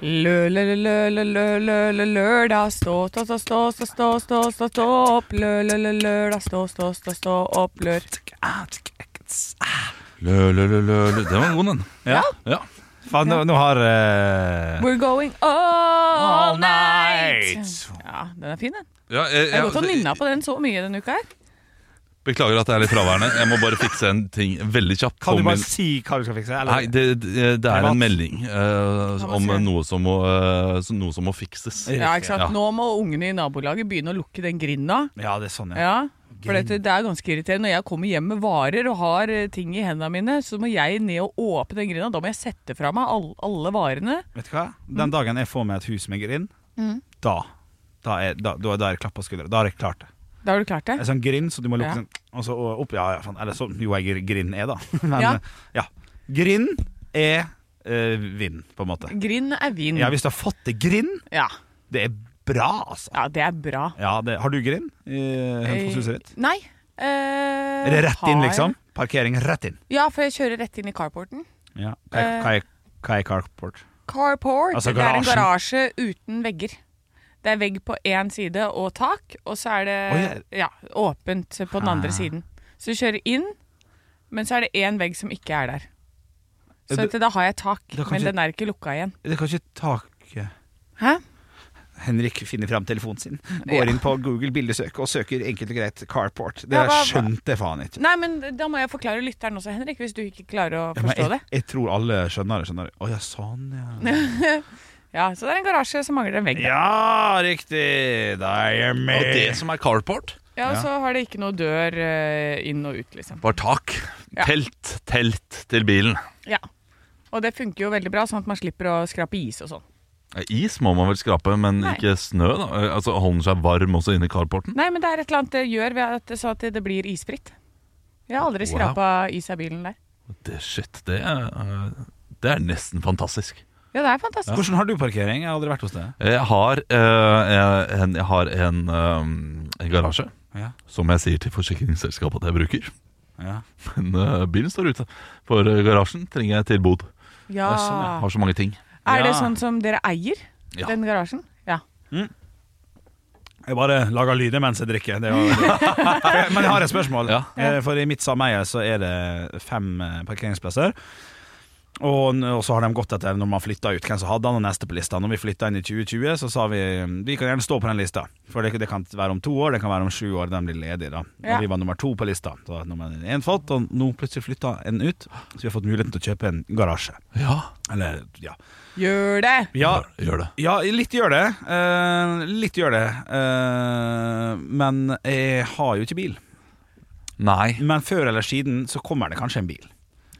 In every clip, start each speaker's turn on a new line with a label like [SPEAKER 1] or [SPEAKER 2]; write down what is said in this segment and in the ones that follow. [SPEAKER 1] Lø, lø, lø, lø, lø, lø, lø, lørdag. Stå, stå, stå, stå, stå, stå, stå, stå, stå opp. Lø, lø, lø, lørdag. Stå, stå, stå, stå opp. Lør.
[SPEAKER 2] Lø, lø, lø, lø, lø. Det var en god en. Ja. ja. Faen, nå, nå har eh,
[SPEAKER 1] We're going all night. Ja, den er fin, den.
[SPEAKER 2] ja, eh,
[SPEAKER 1] Jeg
[SPEAKER 2] ja,
[SPEAKER 1] har gått og nynna på den så mye denne uka her.
[SPEAKER 2] Beklager at jeg er litt fraværende. Jeg må bare fikse en ting veldig kjapt.
[SPEAKER 3] Kan du
[SPEAKER 2] Om
[SPEAKER 3] bare
[SPEAKER 2] min-
[SPEAKER 3] si hva du skal fikse?
[SPEAKER 2] Nei,
[SPEAKER 3] Eller?
[SPEAKER 2] det, det, det er
[SPEAKER 3] Privat.
[SPEAKER 2] en melding eh,
[SPEAKER 1] hva
[SPEAKER 2] om
[SPEAKER 1] sier den?
[SPEAKER 2] noe som, må, eh, som- noe som må fikses.
[SPEAKER 1] Ja, ikke sant?
[SPEAKER 2] Ja.
[SPEAKER 1] Nå må ungene i nabolaget begynne å lukke den grinda.
[SPEAKER 3] Ja, det er sånn, ja.
[SPEAKER 1] Ja, for dette, det er ganske irriterende. Når jeg kommer hjem med varer og har eh, ting i hendene mine, så må jeg ned og åpne den grinda. Da må jeg sette fra meg all, alle varene.
[SPEAKER 3] Vet du hva?
[SPEAKER 1] Mm.
[SPEAKER 3] Den dagen jeg får meg et hus med grind, da, da, er, da, da, da er det klapp på skuldra. Da har jeg klart det.
[SPEAKER 1] Da har du klart
[SPEAKER 3] En
[SPEAKER 1] det.
[SPEAKER 3] sånn grind, så du må
[SPEAKER 1] Ja.
[SPEAKER 3] lukke sånn og så opp, ja, ja, faen. Eller så jo jeg grind er, da. Men
[SPEAKER 1] Ja.
[SPEAKER 3] ja. ja. Grind er eh, vind, på en måte.
[SPEAKER 1] Grind er vin.
[SPEAKER 3] Ja, hvis du har fått til grind,
[SPEAKER 1] Ja.
[SPEAKER 3] det er bra, altså.
[SPEAKER 1] ja, det er bra.
[SPEAKER 3] Ja, det, har du grind i Hønefoss-huset ditt?
[SPEAKER 1] Eh, Nei. Eh,
[SPEAKER 3] Er det rett inn,
[SPEAKER 1] har-
[SPEAKER 3] liksom? Parkering rett inn.
[SPEAKER 1] Ja, for jeg kjører rett inn i carporten.
[SPEAKER 3] Ja. Hva
[SPEAKER 1] Eh.
[SPEAKER 3] er- hva er- hva er carport?
[SPEAKER 1] Carport
[SPEAKER 3] Altså
[SPEAKER 1] det er en garasje
[SPEAKER 3] garasjen.
[SPEAKER 1] uten vegger. Det er vegg på én side og tak, og så er det
[SPEAKER 3] Oi,
[SPEAKER 1] ja, åpent på den andre
[SPEAKER 3] Ah.
[SPEAKER 1] siden. Så du kjører inn, men så er det én vegg som ikke er der. Så
[SPEAKER 3] Det-
[SPEAKER 1] at da har jeg tak,
[SPEAKER 3] Da kan
[SPEAKER 1] men
[SPEAKER 3] ikke-
[SPEAKER 1] den er ikke lukka igjen.
[SPEAKER 3] Det kan ikke taket
[SPEAKER 1] Hæ?
[SPEAKER 3] Henrik finner fram telefonen sin,
[SPEAKER 1] Ja.
[SPEAKER 3] går inn på Google bildesøk og søker enkelt og greit 'carport'. Det
[SPEAKER 1] Ja, hva-
[SPEAKER 3] skjønte jeg faen ikke.
[SPEAKER 1] Nei, men da må jeg forklare lytteren også, Henrik, hvis du ikke klarer å
[SPEAKER 3] Ja, men
[SPEAKER 1] forstå
[SPEAKER 3] jeg,
[SPEAKER 1] det.
[SPEAKER 3] jeg tror alle skjønner det. skjønner det. Å ja, sånn, ja.
[SPEAKER 1] Ja, Så det er en garasje som mangler en vegg. da.
[SPEAKER 3] Ja, riktig! Da er jeg
[SPEAKER 2] Og
[SPEAKER 3] med.
[SPEAKER 2] det som er carport,
[SPEAKER 1] Ja, Og så har det ikke noe dør eh, inn og ut, liksom.
[SPEAKER 2] var tak.
[SPEAKER 1] Ja.
[SPEAKER 2] Telt, telt til bilen.
[SPEAKER 1] Ja. Og det funker jo veldig bra, sånn at man slipper å skrape is og sånn.
[SPEAKER 2] Eh, Is må man vel skrape, men
[SPEAKER 1] Nei.
[SPEAKER 2] ikke snø. da Eh, Altså Holder den seg varm også inne i carporten?
[SPEAKER 1] Nei, men det er et eller annet det gjør ved at, så at det blir isfritt. Jeg har aldri
[SPEAKER 2] Wow.
[SPEAKER 1] skrapa is av bilen der.
[SPEAKER 2] Det, shit, det er, eh, det er nesten fantastisk.
[SPEAKER 1] Ja, det er fantastisk.
[SPEAKER 3] Hvordan har du parkering? Jeg har aldri vært hos deg.
[SPEAKER 2] Jeg har eh, en, jeg har en, eh, en garasje,
[SPEAKER 3] Ja.
[SPEAKER 2] som jeg sier til forsikringsselskapet at jeg bruker.
[SPEAKER 3] Ja.
[SPEAKER 2] Men eh, bilen står ute, for eh, garasjen trenger jeg tilbod.
[SPEAKER 1] Ja.
[SPEAKER 3] det er sånn,
[SPEAKER 2] Har så mange ting.
[SPEAKER 1] Er det
[SPEAKER 3] Ja.
[SPEAKER 1] sånn som dere eier,
[SPEAKER 2] Ja.
[SPEAKER 1] den garasjen? Ja.
[SPEAKER 3] Jeg bare lager lyder mens jeg drikker. Det er jo- Men jeg har et spørsmål.
[SPEAKER 2] Ja.
[SPEAKER 3] Eh, For i mitt sameie så er det fem eh, parkeringsplasser. Og, n- og så har de gått etter når man flytta ut hvem som hadde den, og neste på lista. Når vi flytta inn i 2020, så sa vi mm, vi kan gjerne stå på den lista. For det, det kan være om to år, det kan være om sju år, den blir ledig da.
[SPEAKER 1] Ja.
[SPEAKER 3] Og vi var nummer to på lista. Så var nummer én fått, og nå plutselig flytta en ut. Så vi har fått muligheten til å kjøpe en garasje.
[SPEAKER 2] Ja,
[SPEAKER 3] Eller, ja.
[SPEAKER 1] Gjør det!
[SPEAKER 3] ja
[SPEAKER 2] gjør- gjør det.
[SPEAKER 3] ja, litt gjør det. Eh, litt gjør det. Eh, men jeg har jo ikke bil.
[SPEAKER 2] Nei.
[SPEAKER 3] Men før eller siden så kommer det kanskje en bil.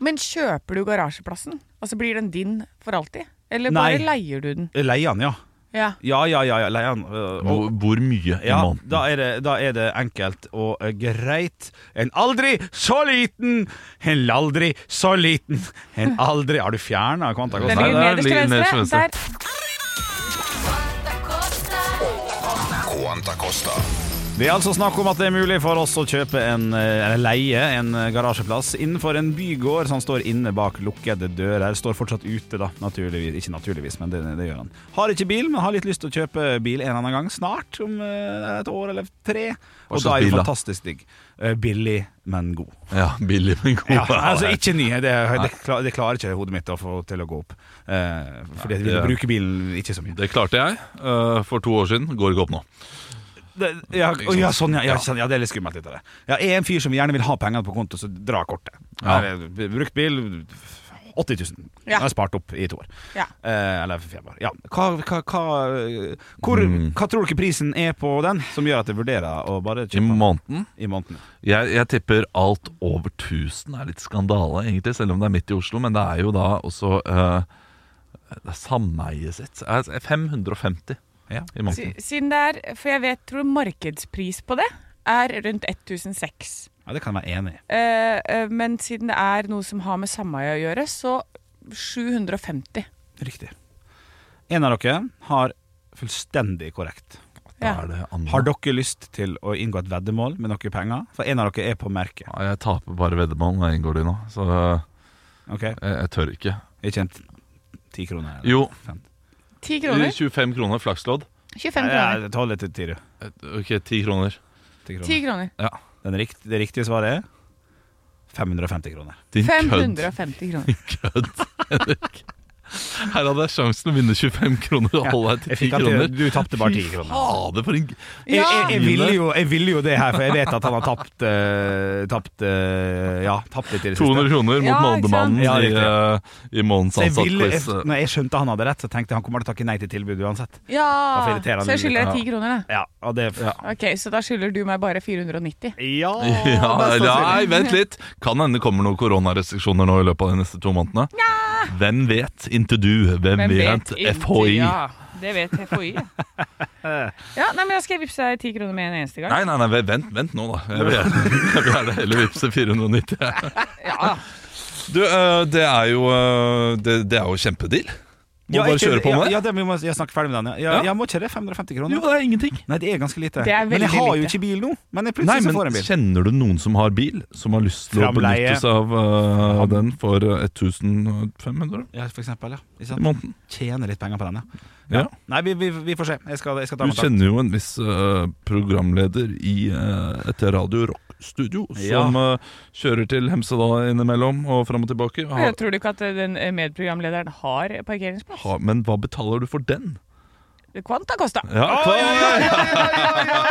[SPEAKER 1] Men kjøper du garasjeplassen? Altså Blir den din for alltid? Eller
[SPEAKER 3] Nei.
[SPEAKER 1] bare leier du den?
[SPEAKER 3] Leie den, ja.
[SPEAKER 1] Ja.
[SPEAKER 3] Ja, ja, ja, ja leie den. Eh, og-
[SPEAKER 2] Hvor, hvor mye i
[SPEAKER 3] ja,
[SPEAKER 2] måneden?
[SPEAKER 3] da er, det, da er det enkelt og eh, greit. En aldri så liten, en aldri så liten, en aldri Har du fjerna
[SPEAKER 2] Nei,
[SPEAKER 1] Den
[SPEAKER 3] kvantagåsen?
[SPEAKER 1] ligger
[SPEAKER 2] der
[SPEAKER 1] nederst
[SPEAKER 2] ligger
[SPEAKER 1] til
[SPEAKER 2] nederst til
[SPEAKER 1] venstre.
[SPEAKER 2] venstre.
[SPEAKER 1] Der.
[SPEAKER 4] Quanta Costa.
[SPEAKER 3] Det er altså snakk om at det er mulig for oss å kjøpe en, eh, eller leie en eh, garasjeplass innenfor en bygård som står inne bak lukkede dører. Står fortsatt ute, da. Naturligvis. Ikke naturligvis, men det, det gjør han. Har ikke bil, men har litt lyst til å kjøpe bil en eller annen gang. Snart. Om eh, et år eller tre. Og
[SPEAKER 2] slags
[SPEAKER 3] da er det
[SPEAKER 2] bil, da?
[SPEAKER 3] fantastisk digg. Eh, Billig, men god.
[SPEAKER 2] Ja, billig, men god.
[SPEAKER 3] Ja, altså ikke ny. Det, det, klar, det klarer ikke hodet mitt å få til å gå opp. Eh, fordi jeg vil
[SPEAKER 2] det-
[SPEAKER 3] bruke bilen ikke så mye.
[SPEAKER 2] Det klarte jeg eh, for to år siden. Går ikke opp nå.
[SPEAKER 3] Det, ja, å, ja, sånn, ja, ja, sånn, ja, det er litt skummelt. Litt av det. Ja, jeg er en fyr som gjerne vil ha pengene på konto, så dra kortet.
[SPEAKER 2] Ja.
[SPEAKER 3] Her er b- Brukt bil 80 000.
[SPEAKER 1] Ja.
[SPEAKER 3] Jeg har spart opp i to år.
[SPEAKER 1] Ja.
[SPEAKER 3] Eh, eller fem år. Ja. Hva, hva, hva, hvor, hva tror du ikke prisen er på den, som gjør at jeg vurderer å bare
[SPEAKER 2] I
[SPEAKER 3] kjøpe den
[SPEAKER 2] måneden
[SPEAKER 3] i måneden?
[SPEAKER 2] Jeg, jeg tipper alt over 1000 er litt skandale, egentlig, selv om det er midt i Oslo. Men det er jo da også eh, Sameiet sitt er 550
[SPEAKER 3] Ja.
[SPEAKER 2] i måneden.
[SPEAKER 1] Si- Siden det er, for jeg vet, tror markedspris på det er rundt 1006.
[SPEAKER 3] Ja, det kan jeg være enig i.
[SPEAKER 1] Eh, eh, men siden det er noe som har med sameie å gjøre, så 750.
[SPEAKER 3] Riktig. En av dere har fullstendig korrekt.
[SPEAKER 2] Da
[SPEAKER 1] Ja.
[SPEAKER 2] er det andre.
[SPEAKER 3] Har dere lyst til å inngå et veddemål med noen penger? For en av dere er på merket.
[SPEAKER 2] Ja, jeg taper bare veddemål når jeg inngår de nå, så eh,
[SPEAKER 3] Ok,
[SPEAKER 2] jeg, jeg tør ikke.
[SPEAKER 3] Ikke en t- ti kroner? eller
[SPEAKER 2] Jo.
[SPEAKER 3] fem.
[SPEAKER 1] 10 kroner.
[SPEAKER 2] 25 Eh, kroner flakslodd. Eh,
[SPEAKER 1] 25 kroner.
[SPEAKER 3] Ja, jeg holder til ti, du.
[SPEAKER 2] Ok, 10 kroner.
[SPEAKER 3] Ti
[SPEAKER 1] 10
[SPEAKER 3] kroner.
[SPEAKER 1] kroner.
[SPEAKER 3] Den rikt, det riktige svaret er 550 kroner.
[SPEAKER 2] Din kødd.
[SPEAKER 1] 550 kroner.
[SPEAKER 2] kødd, Henrik. Her hadde jeg sjansen til å vinne 25 kroner og holde deg
[SPEAKER 3] Jeg
[SPEAKER 2] til 10
[SPEAKER 3] fikk han til-
[SPEAKER 2] kroner.
[SPEAKER 3] Du tapte bare 10 kroner.
[SPEAKER 2] Fader, for en g-
[SPEAKER 3] Jeg, jeg, jeg, ville
[SPEAKER 2] Mine.
[SPEAKER 3] jo, jeg ville jo det her, for jeg vet at han har tapt eh, Tapt eh, Ja, tapt litt i det siste.
[SPEAKER 2] 200 kroner mot
[SPEAKER 1] Ja, ikke
[SPEAKER 2] Nådemannen
[SPEAKER 3] sant?
[SPEAKER 2] i, eh, i månedens
[SPEAKER 3] Så jeg ville,
[SPEAKER 2] ansatt-quiz.
[SPEAKER 3] jeg, når jeg skjønte han hadde rett, så tenkte jeg han kommer til å takke nei til tilbudet uansett.
[SPEAKER 1] Ja,
[SPEAKER 3] Hvorfor irriterer han
[SPEAKER 1] så jeg skylder
[SPEAKER 3] litt,
[SPEAKER 1] deg 10 kroner, da.
[SPEAKER 3] Ja, og det Ja,
[SPEAKER 1] Ok, Så da skylder du meg bare 490.
[SPEAKER 2] Ja,
[SPEAKER 3] mest
[SPEAKER 2] nei,
[SPEAKER 3] sannsynlig.
[SPEAKER 2] vent litt. Kan hende det kommer noen koronarestriksjoner nå i løpet av de neste to månedene. Hvem vet? Inntil du. Hvem, vet?
[SPEAKER 1] inntil-
[SPEAKER 2] FHI.
[SPEAKER 1] Ja, det vet FHI. ja. ja, nei, men Da skal jeg vippse deg 10 kroner med en eneste gang.
[SPEAKER 2] Nei, nei, nei, vent, vent, vent nå, da. Jeg vil gjerne, jeg vil gjerne heller vippse 490. jeg.
[SPEAKER 1] Ja,
[SPEAKER 2] Du, eh, det er jo eh, Det, det er jo kjempedeal. Må bare
[SPEAKER 3] ikke-
[SPEAKER 2] kjøre på med det.
[SPEAKER 3] Ja, ja, det vi må, jeg snakker ferdig med den. Ja, ja,
[SPEAKER 2] Ja.
[SPEAKER 3] ja må ikke det 550 kroner?
[SPEAKER 2] Jo, det er ingenting.
[SPEAKER 3] Nei, det er ganske lite.
[SPEAKER 1] Det er
[SPEAKER 3] men jeg
[SPEAKER 1] veldig
[SPEAKER 3] har jo
[SPEAKER 1] lite.
[SPEAKER 3] ikke bil nå. Men jeg
[SPEAKER 2] Nei,
[SPEAKER 3] plutselig så
[SPEAKER 2] men
[SPEAKER 3] får jeg en bil.
[SPEAKER 2] Kjenner du noen som har bil, som har lyst til å
[SPEAKER 3] Framleie.
[SPEAKER 2] benytte seg av eh, den for eh, 1500
[SPEAKER 3] Ja, for eksempel, ja. Ikke
[SPEAKER 2] i
[SPEAKER 3] sant?
[SPEAKER 2] måneden?
[SPEAKER 3] Tjene litt penger på den, ja.
[SPEAKER 2] Ja.
[SPEAKER 3] Nei, vi, vi, vi får se. Jeg skal, jeg skal ta
[SPEAKER 2] Du
[SPEAKER 3] kontakt.
[SPEAKER 2] kjenner jo en viss eh, programleder i eh, et Radio Rock-studio
[SPEAKER 3] Ja.
[SPEAKER 2] som eh, kjører til Hemsedal innimellom og fram og tilbake.
[SPEAKER 1] men
[SPEAKER 2] Har,
[SPEAKER 1] jeg Tror du ikke at den eh, medprogramlederen har parkeringsplass?
[SPEAKER 2] har, men hva betaler du for den?
[SPEAKER 1] Quanta Costa.
[SPEAKER 2] Ja, klar.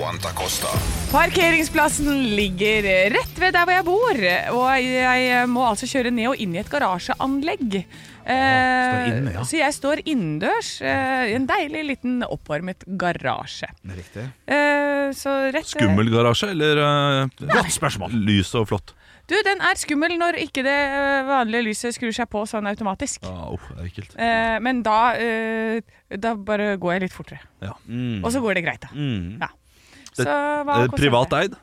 [SPEAKER 4] Quanta Costa.
[SPEAKER 1] Parkeringsplassen ligger rett ved der hvor jeg bor, og jeg må altså kjøre ned og inn i et garasjeanlegg. Eh,
[SPEAKER 3] står inne, ja.
[SPEAKER 1] Så jeg står innendørs eh, i en deilig liten oppvarmet garasje.
[SPEAKER 3] Det er Riktig.
[SPEAKER 1] Eh, så rett
[SPEAKER 2] Skummel garasje, eller eh,
[SPEAKER 3] Godt spørsmål.
[SPEAKER 2] lys og flott?
[SPEAKER 1] Du, den er skummel når ikke det eh, vanlige lyset skrur seg på sånn automatisk.
[SPEAKER 2] Ja, uff, det er ekkelt.
[SPEAKER 1] Eh, men da, eh, da bare går jeg litt fortere.
[SPEAKER 2] Ja.
[SPEAKER 1] Og så går det greit, da.
[SPEAKER 3] Mm.
[SPEAKER 1] Så hva
[SPEAKER 2] Eh,
[SPEAKER 1] koster
[SPEAKER 2] Privat
[SPEAKER 1] det?
[SPEAKER 2] eid?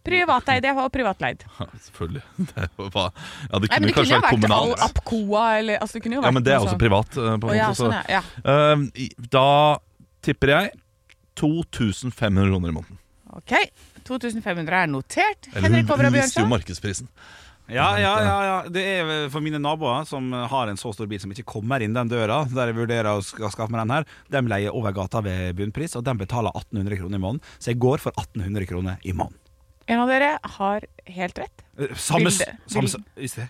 [SPEAKER 1] Privateid ja, og privatleid.
[SPEAKER 2] Ja, selvfølgelig. Det, er jo hva- ja, det kunne
[SPEAKER 1] Nei, men det kunne
[SPEAKER 2] kanskje
[SPEAKER 1] jo
[SPEAKER 2] vært
[SPEAKER 1] vært all
[SPEAKER 2] kommunalt.
[SPEAKER 1] Apcoa eller altså, det kunne jo vært
[SPEAKER 2] Ja, men det er
[SPEAKER 1] noe
[SPEAKER 2] også
[SPEAKER 1] sånn.
[SPEAKER 2] privat. eh, på
[SPEAKER 1] Å,
[SPEAKER 2] en
[SPEAKER 1] ja,
[SPEAKER 2] måte, så-
[SPEAKER 1] sånn, ja. ja.
[SPEAKER 2] Ehm, i- Da tipper jeg 2500 kroner i måneden.
[SPEAKER 1] Ok, 2500 er notert.
[SPEAKER 2] Eller
[SPEAKER 1] Henrik
[SPEAKER 2] hun
[SPEAKER 1] Over og
[SPEAKER 2] visste jo
[SPEAKER 1] Bjørnson.
[SPEAKER 2] markedsprisen.
[SPEAKER 3] Ja, ja, ja, ja. Det er for mine naboer som har en så stor bil som ikke kommer inn den døra, der jeg vurderer å ska- skaffe meg den her, de leier over gata ved bunnpris, og de betaler 1800 kroner i måneden. Så jeg går for 1800 kroner i måneden.
[SPEAKER 1] En av dere har helt rett.
[SPEAKER 3] Eh, Samme s-
[SPEAKER 1] Bilde.
[SPEAKER 3] samme s-
[SPEAKER 1] Bilde.
[SPEAKER 3] Visst det?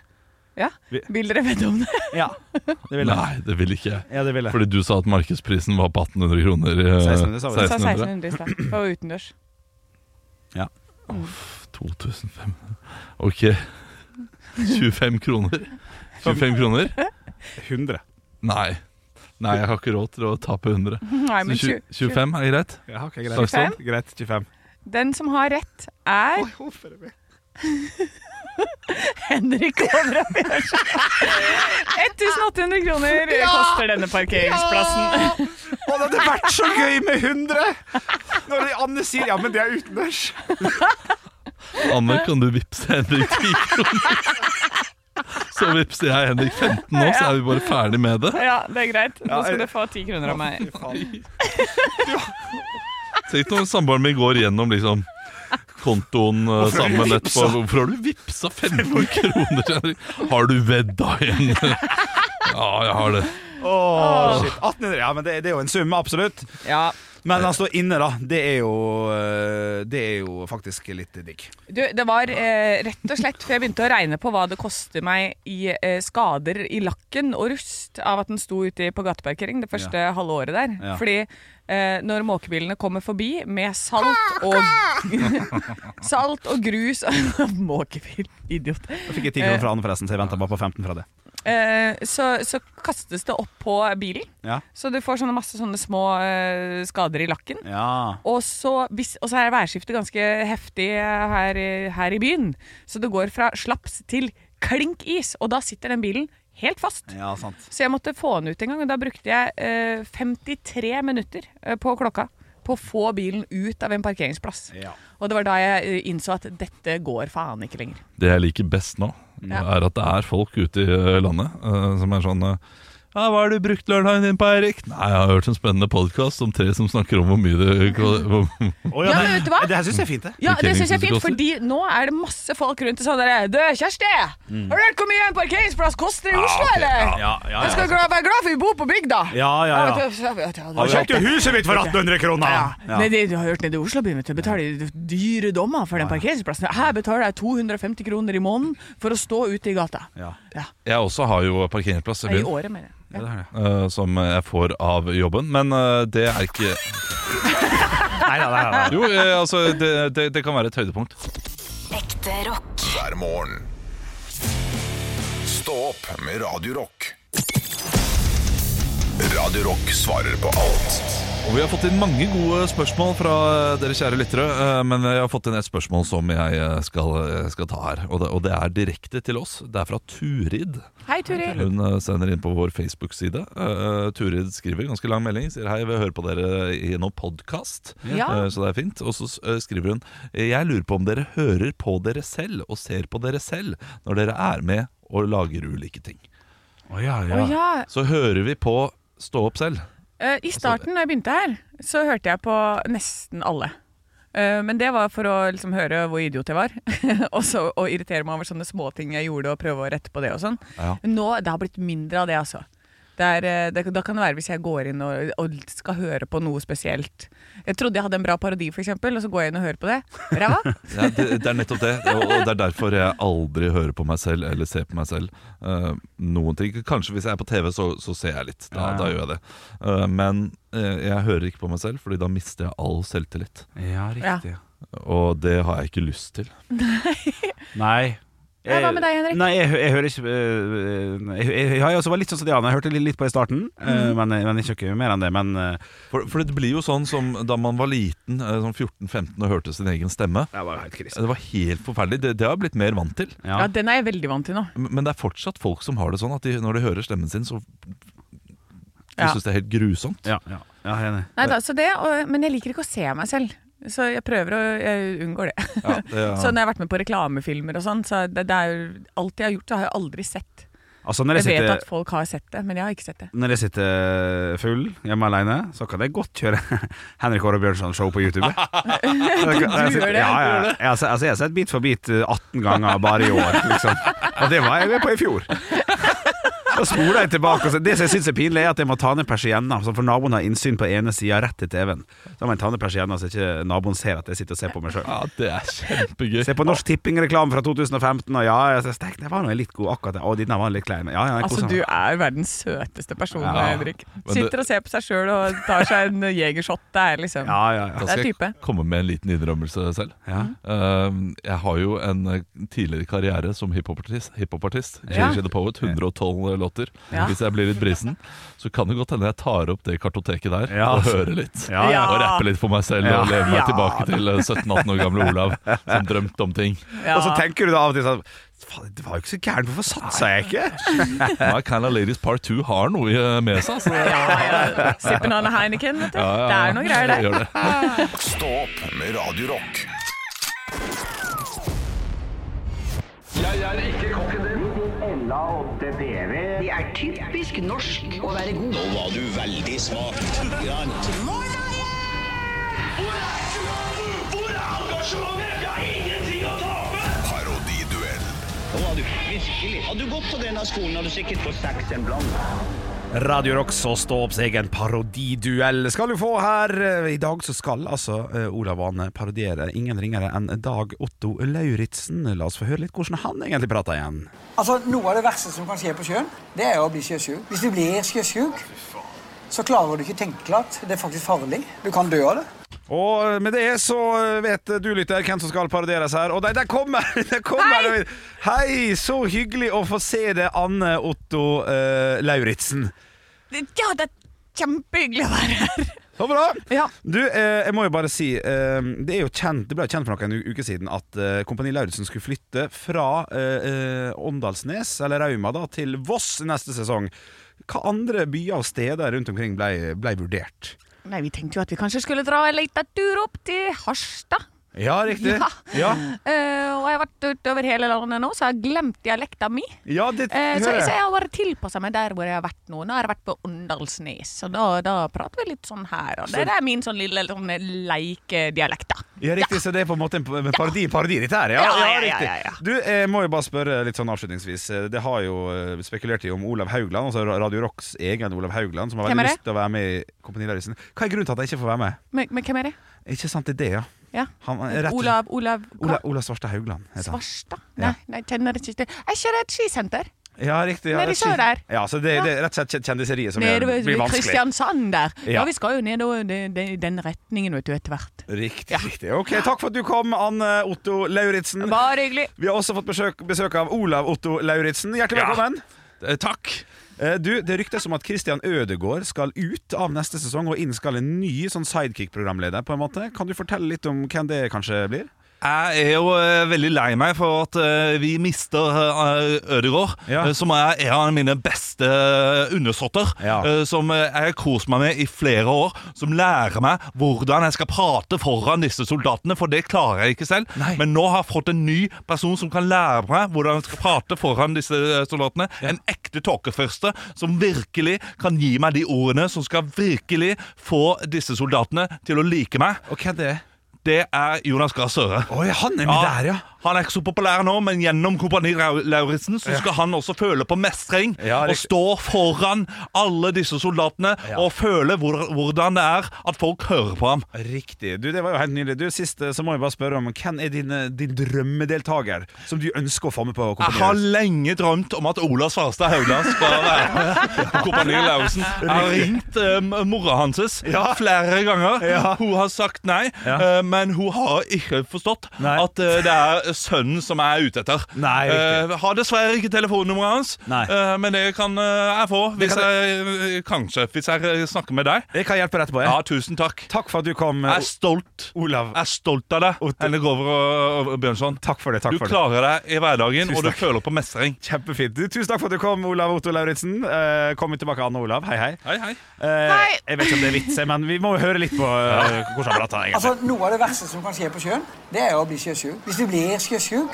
[SPEAKER 1] Ja,
[SPEAKER 3] Vi-
[SPEAKER 1] Vil dere vite om det?
[SPEAKER 3] Ja, det vil jeg.
[SPEAKER 2] Nei, det vil ikke jeg.
[SPEAKER 3] Ja, det vil jeg.
[SPEAKER 2] Fordi du sa at markedsprisen var på 1800 kroner. eh,
[SPEAKER 3] 1600, sa vi.
[SPEAKER 1] Jeg sa
[SPEAKER 2] 1600.
[SPEAKER 1] 1600 i stad. Det var jo utendørs.
[SPEAKER 2] 2500. Ok. 25 kroner. 25 kroner?
[SPEAKER 3] 100.
[SPEAKER 2] Nei. Nei, jeg har ikke råd til å tape 100.
[SPEAKER 1] Nei,
[SPEAKER 2] Så
[SPEAKER 1] men
[SPEAKER 2] tju-
[SPEAKER 1] tju-
[SPEAKER 2] 25 er greit?
[SPEAKER 3] Ja, ok,
[SPEAKER 2] Takk
[SPEAKER 3] greit.
[SPEAKER 2] skal
[SPEAKER 1] 25?
[SPEAKER 3] Greit, 25.
[SPEAKER 1] Den som har rett, er Henrik Over og Bjørnson. 1800 kroner koster denne parkeringsplassen.
[SPEAKER 3] Å, det hadde vært så gøy med 100! Når Anne sier ja, men det er utendørs.
[SPEAKER 2] Anne, kan du vippse Henrik 10 kroner? Så vippser jeg Henrik 15 nå, så er vi bare ferdig med det.
[SPEAKER 1] Ja, det er greit. Nå
[SPEAKER 3] Ja,
[SPEAKER 1] skal
[SPEAKER 3] jeg-
[SPEAKER 1] du få 10 kroner av meg.
[SPEAKER 2] Tenk når samboeren min går gjennom liksom kontoen eh,
[SPEAKER 3] har du
[SPEAKER 2] sammen etterpå.
[SPEAKER 3] vipsa?
[SPEAKER 2] Hvorfor har du vippsa 500 kroner? Henrik? Har du vedda igjen? Ja, jeg har det.
[SPEAKER 3] Åh, shit. 1800, ja, men det, det er jo en sum, absolutt.
[SPEAKER 1] Ja.
[SPEAKER 3] Men han står inne, da. Det er jo, eh, det er jo faktisk litt digg.
[SPEAKER 1] Du, det var eh, rett og slett før jeg begynte å regne på hva det koster meg i eh, skader i lakken og rust av at den sto ute på gateparkering det første halve året der.
[SPEAKER 3] Ja.
[SPEAKER 1] Fordi eh, når måkebilene kommer forbi med salt og Salt og grus Måkebil, idiot.
[SPEAKER 3] Da fikk jeg 10 kroner fra Anne, forresten, så jeg venta bare på 15 fra det.
[SPEAKER 1] eh, så, så kastes det opp på bilen.
[SPEAKER 3] Ja.
[SPEAKER 1] Så du får sånne masse sånne små eh, skader i lakken.
[SPEAKER 3] Ja.
[SPEAKER 1] Og så, hvis, og så er værskiftet ganske heftig eh, her, i- her i byen. Så det går fra slaps til klink is, og da sitter den bilen helt fast.
[SPEAKER 3] ja, sant.
[SPEAKER 1] Så jeg måtte få den ut en gang, og da brukte jeg eh, 53 minutter eh, på klokka på å få bilen ut av en parkeringsplass.
[SPEAKER 3] Ja.
[SPEAKER 1] Og det var da jeg eh, innså at dette går faen ikke lenger.
[SPEAKER 2] Det jeg liker best nå,
[SPEAKER 1] Ja.
[SPEAKER 2] er at det er folk ute i eh, landet eh, som er sånn eh, ja, 'Hva har du brukt lørdagen din på, Eirik?' 'Nei, jeg har hørt en spennende podkast om tre som snakker om hvor mye det hvor,
[SPEAKER 3] Å,
[SPEAKER 1] Ja, men vet du hva?
[SPEAKER 3] Det her syns jeg er fint, det.
[SPEAKER 1] Ja, det syns jeg er fint,
[SPEAKER 2] Parkeringsplasser
[SPEAKER 1] fordi nå er det masse folk rundt og sånn derre Du, Kjersti! Har du hørt hvor mye en parkeringsplass koster i Oslo, eller?
[SPEAKER 3] Ja, ja,
[SPEAKER 1] Jeg skal gra- være glad for vi bor på bygda.
[SPEAKER 3] Ja, ja, ja.
[SPEAKER 1] vet du, jeg vet- jeg
[SPEAKER 3] Har
[SPEAKER 1] vet-
[SPEAKER 3] kjøpt jo huset mitt for 1800 kroner!
[SPEAKER 1] Ja. Nei, det du har hørt nede i Oslo byen, vet du, betaler de dyre dommer for den parkeringsplassen. Her betaler jeg 250 kroner i måneden for å stå ute i gata.
[SPEAKER 3] Ja.
[SPEAKER 1] Ja,
[SPEAKER 2] Jeg også har jo parkeringsplass i
[SPEAKER 1] I
[SPEAKER 2] byen,
[SPEAKER 1] året, mener jeg. Ja.
[SPEAKER 2] eh, som jeg får av jobben, men eh, det er ikke
[SPEAKER 3] Nei, nei, nei, nei.
[SPEAKER 2] Jo, eh, altså, det, det, det kan være et høydepunkt.
[SPEAKER 5] Ekte rock.
[SPEAKER 4] hver morgen. Stå opp med Radio Rock. Radio Rock svarer på alt
[SPEAKER 2] Og Vi har fått inn mange gode spørsmål fra dere kjære lyttere, eh, men jeg har fått inn et spørsmål som jeg eh, skal, skal ta her. Og det, og det er direkte til oss. Det er fra Turid.
[SPEAKER 1] Hei, Turi.
[SPEAKER 2] Hun eh, sender inn på vår Facebook-side. Eh, Turid skriver ganske lang melding. Sier hei, vi hører på dere i noen podkast,
[SPEAKER 1] Ja.
[SPEAKER 2] så det er fint. Og så eh, skriver hun jeg lurer på om dere hører på dere selv og ser på dere selv når dere er med og lager ulike ting.
[SPEAKER 3] Å, ja,
[SPEAKER 1] Å ja.
[SPEAKER 2] Så hører vi på Stå opp selv.
[SPEAKER 1] Eh, I starten da jeg begynte her, så hørte jeg på nesten alle. Eh, Men det var for å liksom høre hvor idiot jeg var, og så å irritere meg over sånne småting jeg gjorde, og prøve å rette på det og sånn.
[SPEAKER 2] Ja.
[SPEAKER 1] Nå, Det har blitt mindre av det, altså. Det er, eh, det, da kan det være hvis jeg går inn og, og skal høre på noe spesielt. Jeg trodde jeg hadde en bra parodi, f.eks., og så går jeg inn og hører på det. Ræva!
[SPEAKER 2] Ja, det, det er nettopp det, og og det er derfor jeg aldri hører på meg selv eller ser på meg selv. eh, noen ting. Kanskje hvis jeg er på TV, så, så ser jeg litt. Da, da gjør jeg det. Eh, men eh, jeg hører ikke på meg selv, Fordi da mister jeg all selvtillit.
[SPEAKER 3] ja, riktig.
[SPEAKER 2] Og det har jeg ikke lyst til.
[SPEAKER 3] Nei.
[SPEAKER 1] Ja, hva med deg, Henrik?
[SPEAKER 3] Nei, jeg, hø- jeg hører ikke øh, Jeg, jeg, jeg, har også vært litt sånn som Diana. Jeg hørte litt, litt på i starten,
[SPEAKER 1] Mm.
[SPEAKER 3] øh, men, men ikke noe mer enn det. Men øh,
[SPEAKER 2] For, for det blir jo sånn som da man var liten, eh, sånn 14-15 og hørte sin egen stemme.
[SPEAKER 3] det var helt krise.
[SPEAKER 2] Det var helt forferdelig. Det, det har jeg blitt mer vant til.
[SPEAKER 3] Ja.
[SPEAKER 1] Ja, Den er jeg veldig vant til nå.
[SPEAKER 2] M- Men det er fortsatt folk som har det sånn at de, når de hører stemmen sin, så de
[SPEAKER 1] Ja.
[SPEAKER 2] syns det er helt grusomt.
[SPEAKER 3] Ja, ja, ja, jeg er enig.
[SPEAKER 1] Nei, da, så det, og, men jeg liker ikke å se meg selv. Så jeg prøver å jeg unngår det.
[SPEAKER 2] Ja, det er-
[SPEAKER 1] Så når jeg har vært med på reklamefilmer og sånn, så det, det er jo Alt jeg har gjort, det har jeg aldri sett.
[SPEAKER 3] Altså, når
[SPEAKER 1] Jeg
[SPEAKER 3] jeg,
[SPEAKER 1] vet
[SPEAKER 3] sitter,
[SPEAKER 1] at folk har sett det, men jeg har ikke sett det.
[SPEAKER 3] når jeg sitter full hjemme alene, så kan jeg godt kjøre Henrik Åre Bjørnson-show på YouTube. du
[SPEAKER 1] gjør det,
[SPEAKER 3] Ja, ja. Jeg, har se- altså, jeg har sett Bit for bit øh, 18 ganger bare i år, liksom. Og det var jeg med på i fjor. Da spoler jeg tilbake og så, Det som jeg syns er pinlig, er at jeg må ta ned persienna, så for naboen har innsyn på ene sida rett til TV-en. Da må jeg ta ned persienna så ikke naboen ser at jeg sitter og ser på meg sjøl.
[SPEAKER 2] Ja, det er kjempegøy.
[SPEAKER 3] Se på Norsk Tipping-reklame fra 2015, og ja, jeg så, stek, det var noe litt god akkurat der. Å, denne var litt klein. Ja, ja, jeg
[SPEAKER 1] Altså,
[SPEAKER 3] koser meg.
[SPEAKER 1] du er verdens søteste person,
[SPEAKER 3] Ja.
[SPEAKER 1] Henrik.
[SPEAKER 2] det-
[SPEAKER 1] Sitter og ser på seg sjøl og tar seg en jegershot. Det er liksom
[SPEAKER 3] Ja,
[SPEAKER 2] Da
[SPEAKER 3] ja, ja.
[SPEAKER 1] Det er
[SPEAKER 2] skal jeg
[SPEAKER 1] type.
[SPEAKER 2] komme med en liten innrømmelse selv.
[SPEAKER 3] ja.
[SPEAKER 2] Ehm, jeg har jo en eh, tidligere karriere som hiphopartist. hiphopartist
[SPEAKER 1] Ja.
[SPEAKER 2] Gigi the Poet, 112 låter.
[SPEAKER 1] Ja.
[SPEAKER 2] Hvis jeg blir litt brisen, så kan det godt hende jeg tar opp det kartoteket der
[SPEAKER 3] Ja.
[SPEAKER 2] og hører litt.
[SPEAKER 3] Ja, ja.
[SPEAKER 2] Og rapper litt for meg selv
[SPEAKER 3] Ja.
[SPEAKER 2] og lever meg
[SPEAKER 1] Ja.
[SPEAKER 2] tilbake til eh, 17-18 år gamle Olav som drømte om ting.
[SPEAKER 1] Ja.
[SPEAKER 3] Og så tenker du da av og til sånn Faen, det var jo ikke så gærent, hvorfor satsa jeg ikke?
[SPEAKER 2] My Kind of Ladies Part 2 har noe eh, med seg. Så,
[SPEAKER 1] ja, ja. Sippen av en Heineken, vet du.
[SPEAKER 2] ja, ja.
[SPEAKER 1] Det er noe greier der.
[SPEAKER 2] Gjør det.
[SPEAKER 4] Stå opp med Radio Rock
[SPEAKER 6] Det er typisk norsk å være god. Nå var du veldig smak.
[SPEAKER 7] Hvor er engasjementet? Jeg har ingenting å tape!
[SPEAKER 4] Parodiduell
[SPEAKER 6] Nå var du virkelig. Hadde du gått på denne skolen, hadde du sikkert fått seks en blant.
[SPEAKER 3] Radio Rock så stå opp seg en parodiduell skal du få her. I dag så skal altså eh, Olav Ane parodiere ingen ringere enn Dag Otto Lauritzen. La oss få høre litt hvordan han egentlig prater igjen.
[SPEAKER 8] Altså, Noe av det verste som kan skje på sjøen, det er å bli sjøsjuk. Hvis du blir sjøsjuk, så klarer du ikke å tenke klart. Det er faktisk farlig. Du kan dø av det.
[SPEAKER 3] Og med det så vet du, lytter, hvem som skal parodieres her. Og de- der kommer! Der kommer Hei! Hei! Så hyggelig å få se deg, Anne Otto eh, Lauritzen.
[SPEAKER 1] Ja, det er kjempehyggelig å være her.
[SPEAKER 3] Så bra!
[SPEAKER 1] Ja.
[SPEAKER 3] Du, eh, jeg må jo bare si eh, Det er jo kjent, det ble jo kjent for noen uker siden at eh, Kompani Lauritzen skulle flytte fra eh, eh, Åndalsnes, eller Rauma, da, til Voss neste sesong. Hva andre byer og steder rundt omkring ble, ble vurdert?
[SPEAKER 1] Nei, Vi tenkte jo at vi kanskje skulle dra en liten tur opp til Harstad.
[SPEAKER 3] Ja, riktig.
[SPEAKER 1] Ja.
[SPEAKER 3] ja.
[SPEAKER 1] Eh, og jeg har vært utover hele landet nå, så jeg har glemt dialekta mi.
[SPEAKER 3] Ja, det
[SPEAKER 1] Eh, så,
[SPEAKER 3] hører
[SPEAKER 1] så
[SPEAKER 3] jeg.
[SPEAKER 1] jeg har bare tilpassa meg der hvor jeg har vært nå. Nå har jeg vært på Åndalsnes, og da, da prater vi litt sånn her. Og det, det er min sånn lille sånn leikedialekt, da.
[SPEAKER 3] Ja, riktig, Så det er på en måte en pa- parodi, parodi dette her? Ja,
[SPEAKER 1] Ja,
[SPEAKER 3] ja,
[SPEAKER 1] ja, ja,
[SPEAKER 3] riktig.
[SPEAKER 1] ja, ja.
[SPEAKER 3] Du, jeg må jo bare spørre litt sånn avslutningsvis. Det har jo eh, spekulert i om Olav Haugland, altså Radio Rocks egen Olav Haugland, som har
[SPEAKER 1] Hvem er
[SPEAKER 3] veldig
[SPEAKER 1] det?
[SPEAKER 3] lyst til å være med i Kompani Lauritzen. Hva er grunnen til at jeg ikke får være med?
[SPEAKER 1] Men, men hvem er det?
[SPEAKER 3] Ikke sant, det er det, ja.
[SPEAKER 1] Ja.
[SPEAKER 3] Han er rett-
[SPEAKER 1] Olav, Olav hva?
[SPEAKER 3] Ola, Ola Svarstad Haugland heter han.
[SPEAKER 1] Svarstad?
[SPEAKER 3] Ja.
[SPEAKER 1] Nei, nei, kjenner ikke til Er ikke det et skisenter?
[SPEAKER 3] Ja, riktig. Ja,
[SPEAKER 1] Nede i
[SPEAKER 3] rett-
[SPEAKER 1] sør der.
[SPEAKER 3] Ja, så det, det er rett og slett kjendiseriet som gjør
[SPEAKER 1] Nede
[SPEAKER 3] det
[SPEAKER 1] ved
[SPEAKER 3] blir
[SPEAKER 1] ved
[SPEAKER 3] vanskelig.
[SPEAKER 1] Kristiansand der. Ja.
[SPEAKER 3] Ja.
[SPEAKER 1] vi skal jo ned og- de- de- i den retningen, vet du, etter hvert.
[SPEAKER 3] Riktig, riktig. Ok, Takk for at du kom, Anne Otto Lauritzen.
[SPEAKER 1] Bare hyggelig.
[SPEAKER 3] Vi har også fått besøk, besøk av Olav Otto Lauritzen. Hjertelig
[SPEAKER 2] Ja.
[SPEAKER 3] velkommen.
[SPEAKER 2] Eh, Takk!
[SPEAKER 3] Eh, Du, Det ryktes om at Christian Ødegaard skal ut av neste sesong, og inn skal en ny sånn sidekick-programleder. på en måte Kan du fortelle litt om hvem det kanskje blir?
[SPEAKER 2] Jeg er jo eh, veldig lei meg for at eh, vi mister eh, Ødegaard,
[SPEAKER 3] Ja.
[SPEAKER 2] eh, som er en av mine beste undersåtter.
[SPEAKER 3] Ja.
[SPEAKER 2] eh, som eh, jeg har kost meg med i flere år. Som lærer meg hvordan jeg skal prate foran disse soldatene, for det klarer jeg ikke selv.
[SPEAKER 3] Nei.
[SPEAKER 2] Men nå har jeg fått en ny person som kan lære meg hvordan jeg skal prate foran disse eh, soldatene. En ekte tåkefyrste som virkelig kan gi meg de ordene som skal virkelig få disse soldatene til å like meg.
[SPEAKER 3] Og hvem det er?
[SPEAKER 2] Det er Jonas Gahr Støre.
[SPEAKER 3] Oi, han er med der, ja.
[SPEAKER 2] Han er ikke så populær nå, men gjennom Kompani Rau- Lauritzen så skal han også føle på mestring.
[SPEAKER 3] Ja,
[SPEAKER 2] og
[SPEAKER 3] riktig.
[SPEAKER 2] stå foran alle disse soldatene og føle hvor, hvordan det er at folk hører på ham.
[SPEAKER 3] Riktig. Du, Det var jo helt nydelig. Du, Sist eh, så må jeg bare spørre om hvem er din, eh, din drømmedeltaker som du ønsker å få med på
[SPEAKER 2] Jeg har
[SPEAKER 3] Kompani?
[SPEAKER 2] lenge drømt om at Ola Svarstad Haugland skal være med på Kompani Lauritzen. Jeg har ringt um, mora hans flere ganger. Hun har sagt nei,
[SPEAKER 3] Ja.
[SPEAKER 2] eh, men hun har ikke forstått
[SPEAKER 3] Nei.
[SPEAKER 2] at eh, det er sønnen som jeg er ute etter.
[SPEAKER 3] Nei, riktig.
[SPEAKER 2] Eh, har dessverre ikke telefonnummeret hans,
[SPEAKER 3] Nei.
[SPEAKER 2] eh, men det kan eh, jeg få. Hvis
[SPEAKER 3] kan
[SPEAKER 2] jeg, kanskje, hvis jeg eh, snakker med deg.
[SPEAKER 3] Jeg kan hjelpe deg etterpå.
[SPEAKER 2] Ja,
[SPEAKER 3] Jeg.
[SPEAKER 2] tusen takk.
[SPEAKER 3] Takk for at du kom, eh,
[SPEAKER 2] Jeg er stolt.
[SPEAKER 3] Olav.
[SPEAKER 2] Jeg er stolt av deg,
[SPEAKER 3] Otto.
[SPEAKER 2] Ellen Grover og, og Bjørnson.
[SPEAKER 3] Takk for det. takk
[SPEAKER 2] Du
[SPEAKER 3] for det
[SPEAKER 2] klarer deg i hverdagen,
[SPEAKER 3] Tusen
[SPEAKER 2] og du
[SPEAKER 3] takk.
[SPEAKER 2] føler på mestring.
[SPEAKER 3] Kjempefint. Du, tusen takk for at du kom, Olav Otto Lauritzen. Eh, Kom tilbake, Anne Olav. Hei, hei.
[SPEAKER 2] Hei, hei.
[SPEAKER 3] Eh, Jeg vet ikke om det er vits, men vi må jo høre litt på eh, hvordan han prater. egentlig.
[SPEAKER 8] Altså, Noe av det verste som kan skje på sjøen, det er å bli sjøsjuk. Hvis du blir sjøsjuk,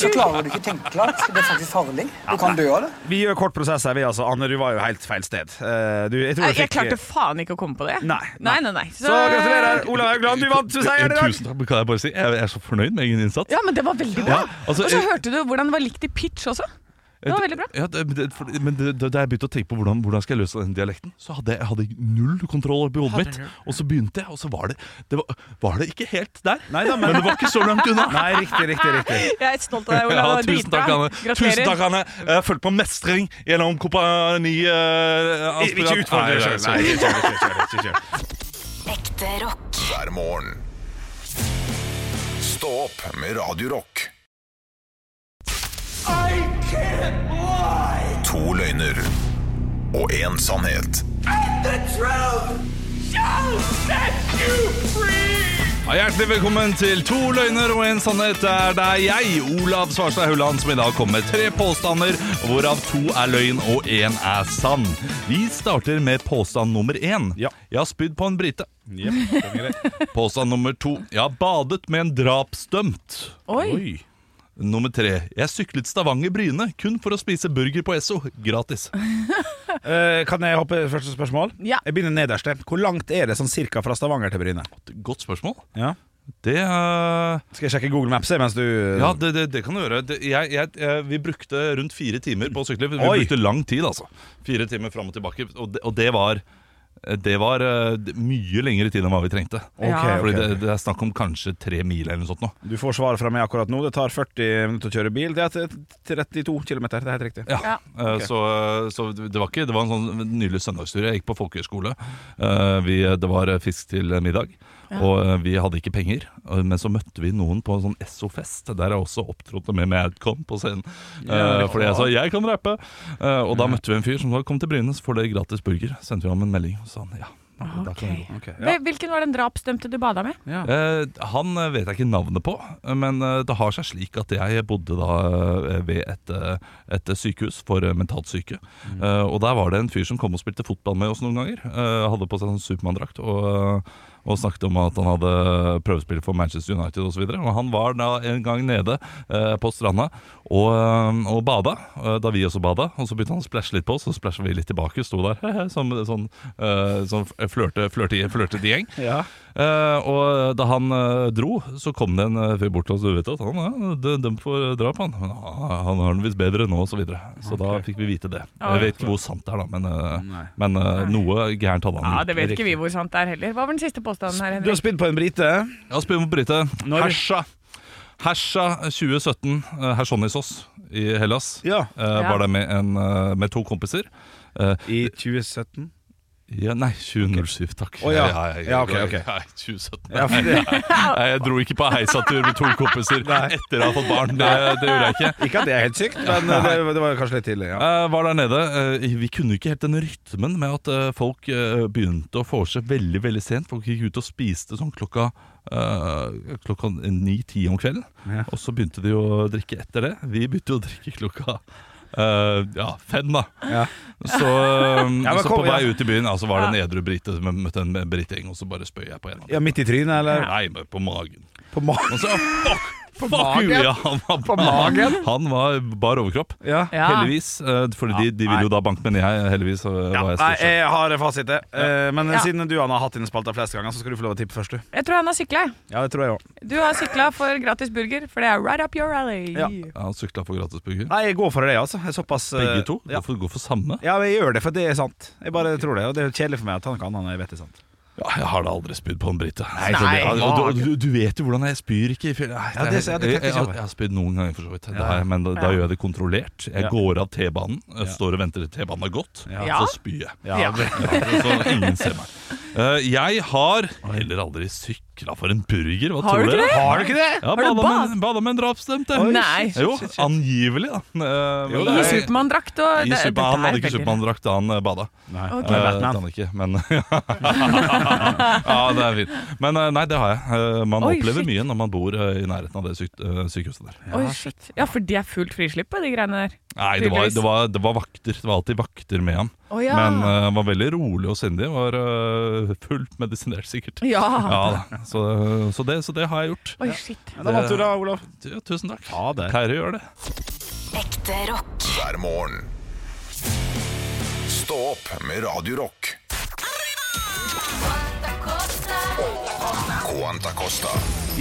[SPEAKER 8] så klarer du ikke å tenke klart. Det er faktisk farlig. Du kan dø av det.
[SPEAKER 3] Vi gjør kort prosess her, vi altså. Anne, du var jo helt feil sted. Eh, du, jeg
[SPEAKER 1] Jeg,
[SPEAKER 3] tror du
[SPEAKER 1] jeg
[SPEAKER 3] fikk-
[SPEAKER 1] klarte faen ikke å komme på det.
[SPEAKER 3] Nei,
[SPEAKER 1] nei,
[SPEAKER 3] nei.
[SPEAKER 1] nei, nei.
[SPEAKER 3] Så gratulerer, Olav Haugland. Du vant seieren i dag.
[SPEAKER 2] Tusen takk, kan jeg bare si. Jeg er så fornøyd med egen innsats.
[SPEAKER 1] Ja, men det var veldig bra.
[SPEAKER 2] Ja, altså,
[SPEAKER 1] og så
[SPEAKER 2] jeg-
[SPEAKER 1] hørte du hvordan det var likt i pitch også. Det var veldig bra.
[SPEAKER 2] Ja, det, det, for, men det, det, da jeg begynte å tenke på hvordan, hvordan skal jeg løse den dialekten, så hadde jeg jeg hadde null kontroll over hodet mitt. Og så begynte jeg, og så var det det var, var det ikke helt der.
[SPEAKER 3] Nei da,
[SPEAKER 2] men...
[SPEAKER 3] men
[SPEAKER 2] det var ikke så langt unna.
[SPEAKER 3] Nei, riktig, riktig. riktig
[SPEAKER 1] Jeg er stolt av deg,
[SPEAKER 2] Ja,
[SPEAKER 1] Olav. Det var
[SPEAKER 2] tusen
[SPEAKER 1] dritbra.
[SPEAKER 2] takk, Anne.
[SPEAKER 1] Gratulerer.
[SPEAKER 2] Tusen takk, Anne. Jeg følte på mestring gjennom kompani... eh, Uh,
[SPEAKER 3] Ikke ikke utfordre deg sjøl. Nei, ikke kjør, ikke kjør, ikke kjør.
[SPEAKER 5] Ekte rock.
[SPEAKER 4] hver morgen. Stå opp med Radio Rock. To løgner og én sannhet.
[SPEAKER 2] Ja, hjertelig velkommen til To løgner og en sannhet. Det er deg, jeg, Olav Svarstad Hauland, som i dag kommer med tre påstander, hvorav to er løgn og én er sann. Vi starter med påstand nummer én.
[SPEAKER 3] Ja.
[SPEAKER 2] Jeg har spydd på en brite.
[SPEAKER 3] Jepp, den er grei.
[SPEAKER 2] Påstand nummer to. Jeg har badet med en drapsdømt.
[SPEAKER 1] Oi.
[SPEAKER 2] Nummer tre. Jeg syklet Stavanger-Bryne kun for å spise burger på Esso. Gratis.
[SPEAKER 3] Eh, Kan jeg hoppe første spørsmål?
[SPEAKER 1] Ja.
[SPEAKER 3] Jeg begynner nederst. jeg. Hvor langt er det sånn cirka fra Stavanger til Bryne?
[SPEAKER 2] Godt spørsmål.
[SPEAKER 3] Ja.
[SPEAKER 2] Det eh,
[SPEAKER 3] Skal jeg sjekke Google Maps jeg, mens du
[SPEAKER 2] Ja, det, det, det kan du gjøre. Det, jeg, jeg, eh, vi brukte rundt fire timer på å sykle. Vi
[SPEAKER 3] Oi!
[SPEAKER 2] brukte lang tid, altså. Fire timer fram og tilbake, og det, og det var Det var eh, d- mye lengre tid enn hva vi trengte.
[SPEAKER 1] Ja.
[SPEAKER 2] Fordi det, det er snakk om kanskje tre mil eller noe sånt nå.
[SPEAKER 3] Du får svar fra meg akkurat nå. Det tar 40 minutter å kjøre bil. Det er 32 km. Det er helt riktig.
[SPEAKER 2] Ja.
[SPEAKER 1] Ja.
[SPEAKER 2] Eh, Så, så det var ikke Det var en sånn nydelig søndagstur. Jeg gikk på folkehøyskole. Eh, Vi, det var fisk til middag, og eh, vi hadde ikke penger. Eh, Men så møtte vi noen på en sånn SO-fest, der jeg også opptrådte med Madcon på scenen. Eh, Fordi jeg sa 'jeg kan rappe'. Eh, Og da møtte vi en fyr som sa 'kom til Bryne, så får dere gratis burger'. Sendte vi ham en melding og sa han ja. Da kan vi gå.
[SPEAKER 3] Ok, ja.
[SPEAKER 1] Hvil- Hvilken var den drapsdømte du bada med?
[SPEAKER 2] Eh, han eh, vet jeg ikke navnet på, eh, men eh, det har seg slik at jeg bodde da eh, ved et, eh, et sykehus for eh, mentalt syke. Eh, og der var det en fyr som kom og spilte fotball med oss noen ganger. Eh, hadde på seg sånn Supermann-drakt og, og snakket om at han hadde prøvespill for Manchester United osv. Og, så videre. og han var da en gang nede eh, på stranda og, eh, og bada, eh, da vi også bada. Og så begynte han å splæsje litt på oss, og så splæsja vi litt tilbake. Sto der som sånn, eh, sånn flørte, flørte, flørtete gjeng. Eh, og da han eh, dro, så kom det en eh, fyr bort til oss. Du vet at han er dø- dømt for drap, han. Men ah, han har den visst bedre nå, osv. Så, videre. så da fikk vi vite det. Jeg vet ikke hvor sant det er, da, men, eh,
[SPEAKER 3] Nei.
[SPEAKER 2] men eh, noe gærent hadde han
[SPEAKER 1] Ja,
[SPEAKER 2] gjort.
[SPEAKER 1] Det vet ikke vi
[SPEAKER 2] Riktig.
[SPEAKER 1] hvor sant det er heller. Hva var den siste påstanden her,
[SPEAKER 3] Du har
[SPEAKER 1] Henrik?
[SPEAKER 3] spydd på en brite.
[SPEAKER 2] Ja, spør om Brite.
[SPEAKER 3] Når-
[SPEAKER 2] Hersa. Hersa 2017, eh, Hersonisos i Hellas,
[SPEAKER 3] Ja.
[SPEAKER 2] eh, var der med, en, eh, med to kompiser. Eh,
[SPEAKER 3] I 2017.
[SPEAKER 2] ja, nei, 2007, takk.
[SPEAKER 3] Å, ja. Ja, ok, ok.
[SPEAKER 2] Nei, 2017.
[SPEAKER 3] Ja, for det,
[SPEAKER 2] Nei, jeg dro ikke på heisatur med to kompiser etter å ha fått barn. Det, det gjorde jeg ikke.
[SPEAKER 3] ikke at det er helt sykt, men eh, det, det var kanskje litt tidlig. Ja.
[SPEAKER 2] Eh, var der nede. eh, vi kunne ikke helt den rytmen med at eh, folk eh, begynte å få seg veldig veldig sent. Folk gikk ut og spiste sånn klokka eh, Klokka ni-ti om kvelden.
[SPEAKER 3] Ja.
[SPEAKER 2] Og så begynte de å drikke etter det. Vi begynte jo å drikke klokka eh, ja, fem, da.
[SPEAKER 3] Ja.
[SPEAKER 2] Så, eh,
[SPEAKER 3] Ja, men
[SPEAKER 2] så
[SPEAKER 3] kom,
[SPEAKER 2] på vei
[SPEAKER 3] ja.
[SPEAKER 2] ut i byen ja, så var det en edru brite som jeg møtte en britegjeng, og så bare spøy jeg på en av dem.
[SPEAKER 3] ja, midt i trynet, eller?
[SPEAKER 2] Nei, men på magen.
[SPEAKER 3] På magen.
[SPEAKER 2] Og så, fuck, fuck
[SPEAKER 3] magen?
[SPEAKER 2] you, ja, han var,
[SPEAKER 3] På magen?
[SPEAKER 2] Han var bar overkropp.
[SPEAKER 3] Ja.
[SPEAKER 1] Ja.
[SPEAKER 2] Heldigvis, eh, fordi de, de ville jo da banke, men jeg heldigvis eh,
[SPEAKER 3] Ja,
[SPEAKER 2] var jeg
[SPEAKER 3] nei,
[SPEAKER 2] stort sett.
[SPEAKER 3] jeg har fasit, Eh, men
[SPEAKER 1] Ja.
[SPEAKER 3] siden du Anna, har hatt dine spalter flest ganger, så skal du få lov å tippe først. du
[SPEAKER 1] Jeg tror han har sykla.
[SPEAKER 3] Ja, det tror jeg også.
[SPEAKER 1] Du har sykla for gratis burger, for det er right up your alley.
[SPEAKER 3] Ja.
[SPEAKER 2] Ja, han sykla for gratisburger.
[SPEAKER 3] Nei, jeg går for det, altså. Jeg er såpass, eh,
[SPEAKER 2] Begge to?
[SPEAKER 3] Ja.
[SPEAKER 2] Hvorfor gå for samme?
[SPEAKER 3] ja, men jeg gjør det, for det er sant. Jeg bare tror det, og det er kjedelig for meg at han kan han, jeg vet det er sant.
[SPEAKER 2] Ja, jeg har da aldri spydd på en brite.
[SPEAKER 3] Nei,
[SPEAKER 2] Så det-
[SPEAKER 3] nei,
[SPEAKER 2] ja, og du, du, du vet jo hvordan jeg spyr ikke. i fjellet. Nei,
[SPEAKER 3] Ja, det- ja, det
[SPEAKER 2] jeg,
[SPEAKER 3] tenker jeg
[SPEAKER 2] jeg,
[SPEAKER 3] ikke over.
[SPEAKER 2] jeg har spydd noen ganger, for så vidt. Det har jeg, men da, da gjør jeg det kontrollert. Jeg
[SPEAKER 3] Ja.
[SPEAKER 2] går av T-banen, jeg står og venter til T-banen har gått,
[SPEAKER 1] Ja.
[SPEAKER 2] og så spyr jeg.
[SPEAKER 3] Ja,
[SPEAKER 1] Ja.
[SPEAKER 3] det-
[SPEAKER 2] Ja, så ingen ser meg. Eh, jeg har heller aldri sykla for en burger. Hva
[SPEAKER 1] Har
[SPEAKER 2] tror
[SPEAKER 1] du ikke
[SPEAKER 2] dere?
[SPEAKER 3] Har du ikke det?
[SPEAKER 2] Ja,
[SPEAKER 1] du
[SPEAKER 2] bada med,
[SPEAKER 1] bad?
[SPEAKER 2] bada med en drapsdømt, jeg.
[SPEAKER 1] Oi, Nei. shit,
[SPEAKER 2] Jo, angivelig, da. Eh, men
[SPEAKER 1] I
[SPEAKER 2] det er-
[SPEAKER 1] Supermann-drakt og
[SPEAKER 2] i
[SPEAKER 1] det-
[SPEAKER 2] Superman,
[SPEAKER 1] dette
[SPEAKER 2] Han
[SPEAKER 1] er
[SPEAKER 2] hadde ikke
[SPEAKER 1] veldig-
[SPEAKER 2] Supermann-drakt da han eh, bada.
[SPEAKER 3] Nei,
[SPEAKER 1] Ok.
[SPEAKER 3] det er
[SPEAKER 2] Eh,
[SPEAKER 3] Batman.
[SPEAKER 2] det hadde han ikke, men Ja, det er fint. Men eh, nei, det har jeg. Eh, man
[SPEAKER 1] Oi,
[SPEAKER 2] opplever
[SPEAKER 1] shit.
[SPEAKER 2] mye når man bor eh, i nærheten av det syk eh, sykehuset der.
[SPEAKER 1] Oi, shit. Ja, for de er fullt frislipp på de greiene der.
[SPEAKER 2] Nei, det var,
[SPEAKER 1] Tydeligvis.
[SPEAKER 2] det, var, det var vakter. Det var alltid vakter med ham.
[SPEAKER 1] Å ja.
[SPEAKER 2] Men eh, han var veldig rolig og sindig. Var eh, fullt medisinert, sikkert.
[SPEAKER 1] ja.
[SPEAKER 2] Ja, da. så, eh, så, det, så det har jeg gjort.
[SPEAKER 1] Oi, shit.
[SPEAKER 3] Men da vant du da, Olav.
[SPEAKER 2] Ja, tusen takk.
[SPEAKER 3] Ja, det.
[SPEAKER 2] Pleier å gjøre det.
[SPEAKER 5] Ekte rock.
[SPEAKER 4] hver morgen. Stå opp med Radio Rock. Quanta Costa.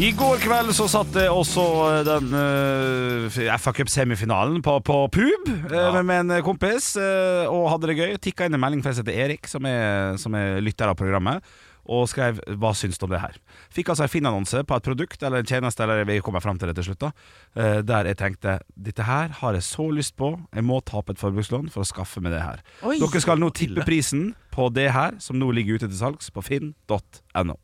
[SPEAKER 3] I går kveld så satt det også eh, den uh, FA Cup-semifinalen på, på pub eh, med, med en kompis, eh, og hadde det gøy. Tikka inn en melding fra jeg heter Erik, som er, som er lytter av programmet, og skrev 'Hva syns du om det her?' Fikk altså en fin annonse på et produkt eller en tjeneste, eller vi kommer frem til det til slutt, da, eh, der jeg tenkte 'Dette her har jeg så lyst på, jeg må ta opp et forbrukslån for å skaffe meg det her'.
[SPEAKER 1] Oi.
[SPEAKER 3] Dere skal nå tippe prisen på det her, som nå ligger ute til salgs på finn.no.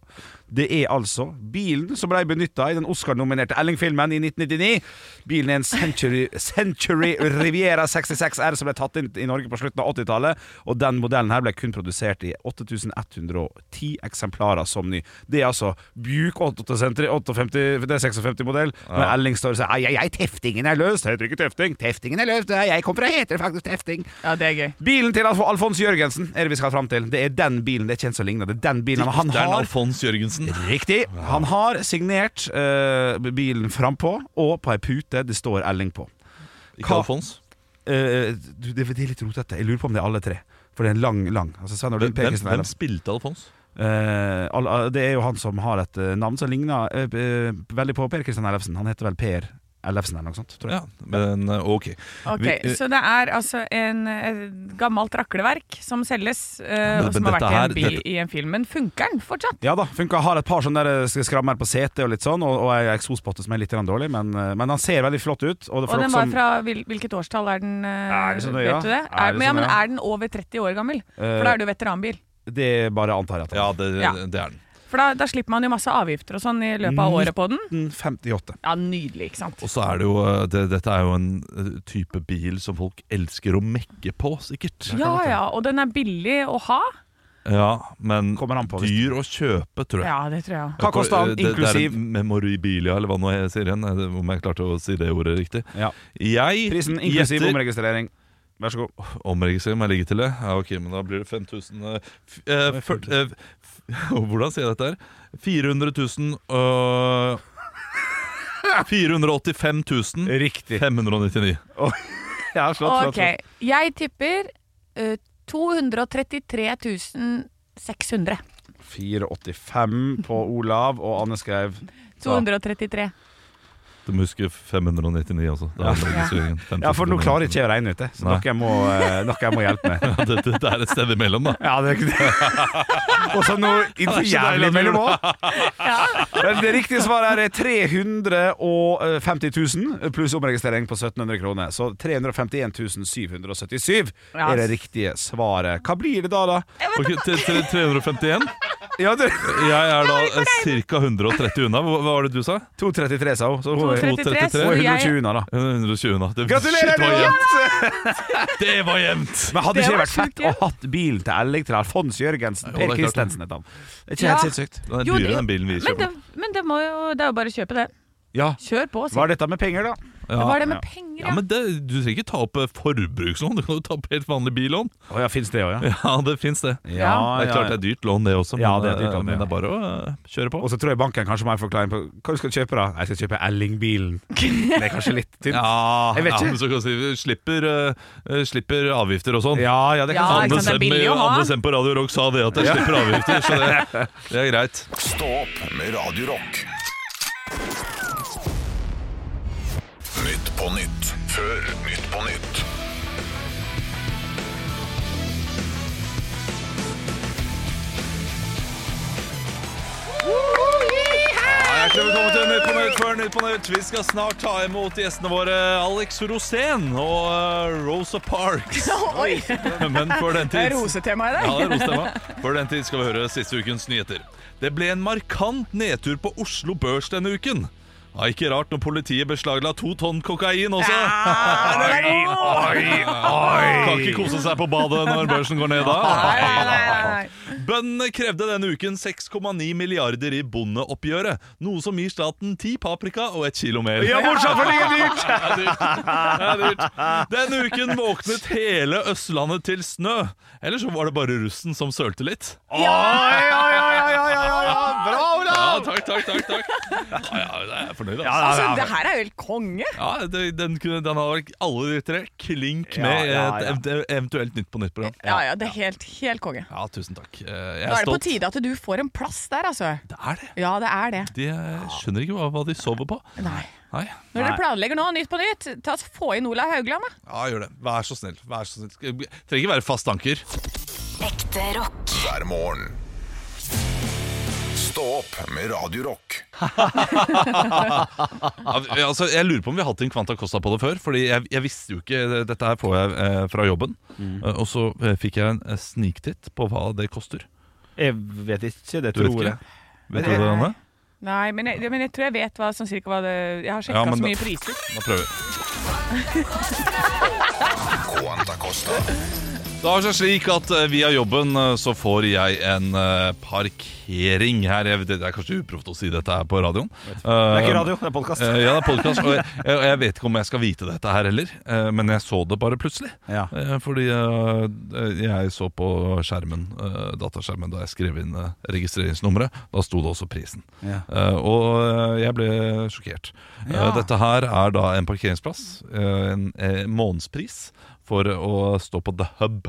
[SPEAKER 3] Det er altså bilen som ble benytta i den Oscar-nominerte Elling-filmen i 1999. Bilen er en Century, Century Riviera 66R som ble tatt inn i Norge på slutten av 80-tallet. Og den modellen her ble kun produsert i 8110 eksemplarer som ny. Det er altså Buick 850 850 det er 56-modell. Når Elling står og sier «Ai, ai, ai, teftingen er løs', det heter ikke tefting. Teftingen er løs, Nei, jeg kom fra heter det faktisk tefting.
[SPEAKER 1] Ja, det er gøy.
[SPEAKER 3] Bilen til Alf Alfons Jørgensen er det vi skal fram til. Det er den bilen. Det er ikke en som ligner. Det er den bilen han
[SPEAKER 2] Det er en
[SPEAKER 3] har.
[SPEAKER 2] Alfons Jørgensen.
[SPEAKER 3] Riktig. Han har signert eh, bilen frampå, og på ei pute det står Elling på.
[SPEAKER 2] Ikke
[SPEAKER 3] Hva-
[SPEAKER 2] Alfons.
[SPEAKER 3] Eh, du, det, det er litt rotete. Jeg lurer på om det er alle tre. For det er en lang, lang altså Svein Ordin
[SPEAKER 2] Hvem, hvem,
[SPEAKER 3] Pekersen er det.
[SPEAKER 2] spilte Alfons?
[SPEAKER 3] Eh, all, eh, Det er jo han som har et eh, navn som ligner eh, eh, veldig på Per Kristian Ellefsen. Han heter vel Per Ellefsen eller noe sånt, tror jeg.
[SPEAKER 2] Ja, men eh, ok.
[SPEAKER 1] Ok,
[SPEAKER 2] Vi- eh,
[SPEAKER 1] Så det er altså en, et gammelt rakleverk som selges, eh,
[SPEAKER 2] Men-
[SPEAKER 1] og som
[SPEAKER 2] men
[SPEAKER 1] har
[SPEAKER 2] dette
[SPEAKER 1] vært i
[SPEAKER 2] her-
[SPEAKER 1] en, bil,
[SPEAKER 2] dette-
[SPEAKER 1] i en film. Men funker den fortsatt?
[SPEAKER 3] Ja da, funka. Har et par sånne der eh, sk- skrammer på setet og litt sånn, og, og ei eksospotte som er litt grann dårlig, men, eh, men han ser veldig flott ut. Og, det er
[SPEAKER 1] Og
[SPEAKER 3] folk
[SPEAKER 1] den var
[SPEAKER 3] som-
[SPEAKER 1] fra hvil, Hvilket årstall er den? eh,
[SPEAKER 3] Er det så nøye, ja?
[SPEAKER 1] vet du det?
[SPEAKER 3] Er
[SPEAKER 1] Er,
[SPEAKER 3] det
[SPEAKER 1] men, ja,
[SPEAKER 3] så
[SPEAKER 1] men
[SPEAKER 3] nøye?
[SPEAKER 1] er den over 30 år gammel?
[SPEAKER 3] Eh,
[SPEAKER 1] For da er det jo veteranbil.
[SPEAKER 3] Det bare antar jeg at
[SPEAKER 2] ja,
[SPEAKER 3] han
[SPEAKER 2] det,
[SPEAKER 1] Ja.
[SPEAKER 2] det er den.
[SPEAKER 1] For da, da slipper man jo masse avgifter og sånn i løpet av året på den.
[SPEAKER 3] 58.
[SPEAKER 1] Ja, Nydelig, ikke sant?
[SPEAKER 2] Og så er det jo eh, det, Dette er jo en eh, type bil som folk elsker å mekke på, sikkert.
[SPEAKER 1] Ja ja, og den er billig å ha.
[SPEAKER 2] Ja, men
[SPEAKER 3] Kommer an på, hvis-
[SPEAKER 2] dyr å kjøpe, tror jeg.
[SPEAKER 1] Ja, det tror jeg.
[SPEAKER 3] Hva kosta han,
[SPEAKER 2] Det- det er
[SPEAKER 3] inklusiv-
[SPEAKER 2] Memorabilia, eller hva nå jeg sier igjen. eh, Om jeg klarte å si det ordet riktig.
[SPEAKER 3] Ja.
[SPEAKER 2] Jeg
[SPEAKER 3] Prisen inklusiv
[SPEAKER 2] gjetter-
[SPEAKER 3] omregistrering. Vær så god.
[SPEAKER 2] Omregistrering må jeg legge til det. Ja, ok, men da blir det 5000 eh, f- eh, fyr- eh, f- Hvordan sier jeg dette her? 400 000 øh, 485 000
[SPEAKER 3] Riktig.
[SPEAKER 2] 599.
[SPEAKER 3] Ja, slått, slått,
[SPEAKER 1] Ok, jeg tipper eh, 233 600.
[SPEAKER 3] slått. 485 på Olav, og Anne skrev
[SPEAKER 1] 233.
[SPEAKER 2] Du må huske 599, altså. Det er omregistreringen. 50 000.
[SPEAKER 3] Ja, for nå klarer ikke jeg å regne ut det, så
[SPEAKER 2] Nei.
[SPEAKER 3] noe jeg må, eh, noe jeg må hjelpe med.
[SPEAKER 2] ja, det, det er et sted imellom, da.
[SPEAKER 3] Ja, det er ikke det. Og så noe innenfor jævlig mellom òg. Ah, Men Det riktige svaret her er eh, 350 000 eh, pluss omregistrering på 1700 kroner. Så 351 777 er det riktige svaret. Hva blir det da, da?
[SPEAKER 2] Ok, til, til 351.
[SPEAKER 3] Ja, det,
[SPEAKER 2] Jeg er da eh, ca. 130 unna. Hva, hva var det du sa?
[SPEAKER 3] 233, sa hun. Så hun er hun
[SPEAKER 1] 233, så
[SPEAKER 3] er
[SPEAKER 1] jeg
[SPEAKER 3] 120 unna, da.
[SPEAKER 2] 120 unna. Det,
[SPEAKER 3] Gratulerer!
[SPEAKER 2] shit, det var
[SPEAKER 3] Jonas!
[SPEAKER 2] jevnt. Det var jevnt!
[SPEAKER 3] Men hadde
[SPEAKER 1] Det
[SPEAKER 3] ikke det
[SPEAKER 1] var
[SPEAKER 3] vært fett
[SPEAKER 1] sjukt,
[SPEAKER 3] å
[SPEAKER 1] ja.
[SPEAKER 3] hatt bilen til Ellik til Alfons
[SPEAKER 2] Jo,
[SPEAKER 3] Jørgensen?
[SPEAKER 2] det er
[SPEAKER 3] Per
[SPEAKER 2] klart.
[SPEAKER 3] Kristensen het han. Det er Ikke
[SPEAKER 1] Ja.
[SPEAKER 3] helt sinnssykt.
[SPEAKER 2] Den er
[SPEAKER 1] Jo,
[SPEAKER 2] dyrere
[SPEAKER 1] det-
[SPEAKER 2] enn bilen vi
[SPEAKER 1] Men, det,
[SPEAKER 2] kjøper.
[SPEAKER 1] men det, må jo, det er jo bare å kjøpe det.
[SPEAKER 3] Ja.
[SPEAKER 1] Kjør på, si.
[SPEAKER 3] Hva er dette med penger, da?
[SPEAKER 1] Det var det
[SPEAKER 3] ja.
[SPEAKER 1] med penger,
[SPEAKER 2] Ja,
[SPEAKER 1] ja.
[SPEAKER 2] men det, Du trenger ikke ta opp eh, forbrukslån, du kan jo ta opp helt vanlig billån.
[SPEAKER 3] Å ja, fins det òg, ja?
[SPEAKER 2] Ja, det fins det. Det
[SPEAKER 3] Ja,
[SPEAKER 2] er klart det er dyrt lån, det også, men,
[SPEAKER 3] Ja, det er dyrt lån,
[SPEAKER 2] eh, men
[SPEAKER 3] ja.
[SPEAKER 2] det er bare å eh, kjøre på.
[SPEAKER 3] Og så tror jeg banken kanskje må ha en forklaring på hva du skal kjøpe. da Jeg skal kjøpe Elling-bilen. Det er kanskje litt tynt. Ja.
[SPEAKER 2] Ja,
[SPEAKER 3] Jeg vet
[SPEAKER 2] ja,
[SPEAKER 3] ikke.
[SPEAKER 2] men så kan du si eh, slipper, eh, eh, slipper avgifter og sånn.
[SPEAKER 3] Ja,
[SPEAKER 1] Ja,
[SPEAKER 3] det kan ja,
[SPEAKER 1] ikke
[SPEAKER 2] Anne
[SPEAKER 1] sant, det er billig å
[SPEAKER 2] Sem-
[SPEAKER 1] ha.
[SPEAKER 2] Anne Sem på Radio Rock sa det, at jeg slipper avgifter, så det, det er greit.
[SPEAKER 4] Stå opp med Radio Rock. Nytt på nytt før Nytt på nytt.
[SPEAKER 2] Hjertelig velkommen til Nytt på Nytt før Nytt på Nytt. Vi skal snart ta imot gjestene våre Alex Rosén og eh, Rosa Parks.
[SPEAKER 1] Oi!
[SPEAKER 2] Men før den
[SPEAKER 1] Det er
[SPEAKER 2] tid
[SPEAKER 1] rosetema i dag.
[SPEAKER 2] Ja, det er rostema. Før den tid skal vi høre siste ukens nyheter. Det ble en markant nedtur på Oslo Børs denne uken. Ja, ikke rart når politiet beslagla to tonn kokain også. Kan ikke kose seg på badet når børsen går ned da.
[SPEAKER 1] Nei, nei, nei.
[SPEAKER 2] Bøndene krevde denne uken 6,9 milliarder i bondeoppgjøret, noe som gir staten ti paprika og et kilo mer.
[SPEAKER 3] bortsett fra det er dyrt!
[SPEAKER 2] Det er dyrt. Det er dyrt. Denne uken våknet hele Østlandet til snø. Eller så var det bare russen som sølte litt.
[SPEAKER 3] Oi, oi, oi, oi, oi, oi, oi. Bra,
[SPEAKER 2] Ja,
[SPEAKER 3] Olav!
[SPEAKER 2] takk, takk, takk, takk. Ja, ja, jeg er fornøyd, altså.
[SPEAKER 1] Altså, det her er jo helt konge.
[SPEAKER 2] Ja, det, den, kunne- den har vært alle de tre klink
[SPEAKER 3] Ja,
[SPEAKER 2] med
[SPEAKER 3] ja, ja.
[SPEAKER 2] et ev- eventuelt nytt på nytt-program.
[SPEAKER 1] Ja, ja, det er helt, helt konge.
[SPEAKER 2] Ja, tusen takk. Eh, Jeg
[SPEAKER 1] Nå
[SPEAKER 2] er
[SPEAKER 1] er det på
[SPEAKER 2] stolt.
[SPEAKER 1] tide at du får en plass der, altså.
[SPEAKER 2] Det er det.
[SPEAKER 1] Ja, det er det.
[SPEAKER 2] De eh, skjønner ikke hva, hva de sover på.
[SPEAKER 1] Nei.
[SPEAKER 2] Nei.
[SPEAKER 1] Når dere planlegger nå, Nytt på nytt, ta oss få inn Olav Haugland, da.
[SPEAKER 2] Ja, gjør det. Vær så snill. Vær så snill. Skal- Trenger ikke være fast anker.
[SPEAKER 5] Ekte rock.
[SPEAKER 4] hver morgen. Stå opp med Radio Rock.
[SPEAKER 2] Ja, vi- altså, jeg lurer på om vi har hatt en Kvanta Costa på det før. Fordi jeg, jeg visste jo ikke Dette her får jeg eh, fra jobben. Eh, og så eh, fikk jeg en eh, sniktitt på hva det koster.
[SPEAKER 3] Jeg vet ikke, det
[SPEAKER 2] Du vet ikke? Vet du det, Anne?
[SPEAKER 1] Nei, men jeg, men jeg tror jeg vet hva, sånn cirka hva det Jeg har sjekka
[SPEAKER 2] Ja, men
[SPEAKER 1] så
[SPEAKER 2] da-
[SPEAKER 1] mye priser.
[SPEAKER 2] Da prøver vi.
[SPEAKER 4] Quanta Costa.
[SPEAKER 2] Det har seg slik at eh, via jobben eh, så får jeg en eh, parkering her. Jeg, vet- det er kanskje uproft å si dette her på radioen.
[SPEAKER 3] Det er
[SPEAKER 2] Eh,
[SPEAKER 3] ikke radio, det er podkast.
[SPEAKER 2] eh, ja, det er podcast, og jeg, jeg, jeg vet ikke om jeg skal vite dette her heller, eh, men jeg så det bare plutselig.
[SPEAKER 3] Ja.
[SPEAKER 2] Eh, Fordi eh, jeg så på skjermen, eh, dataskjermen da jeg skrev inn eh, registreringsnummeret. Da sto det også prisen.
[SPEAKER 3] Ja.
[SPEAKER 2] Eh, Og eh, jeg ble sjokkert. Eh, Dette her er da en parkeringsplass, eh, en eh, månedspris for å stå på The Hub.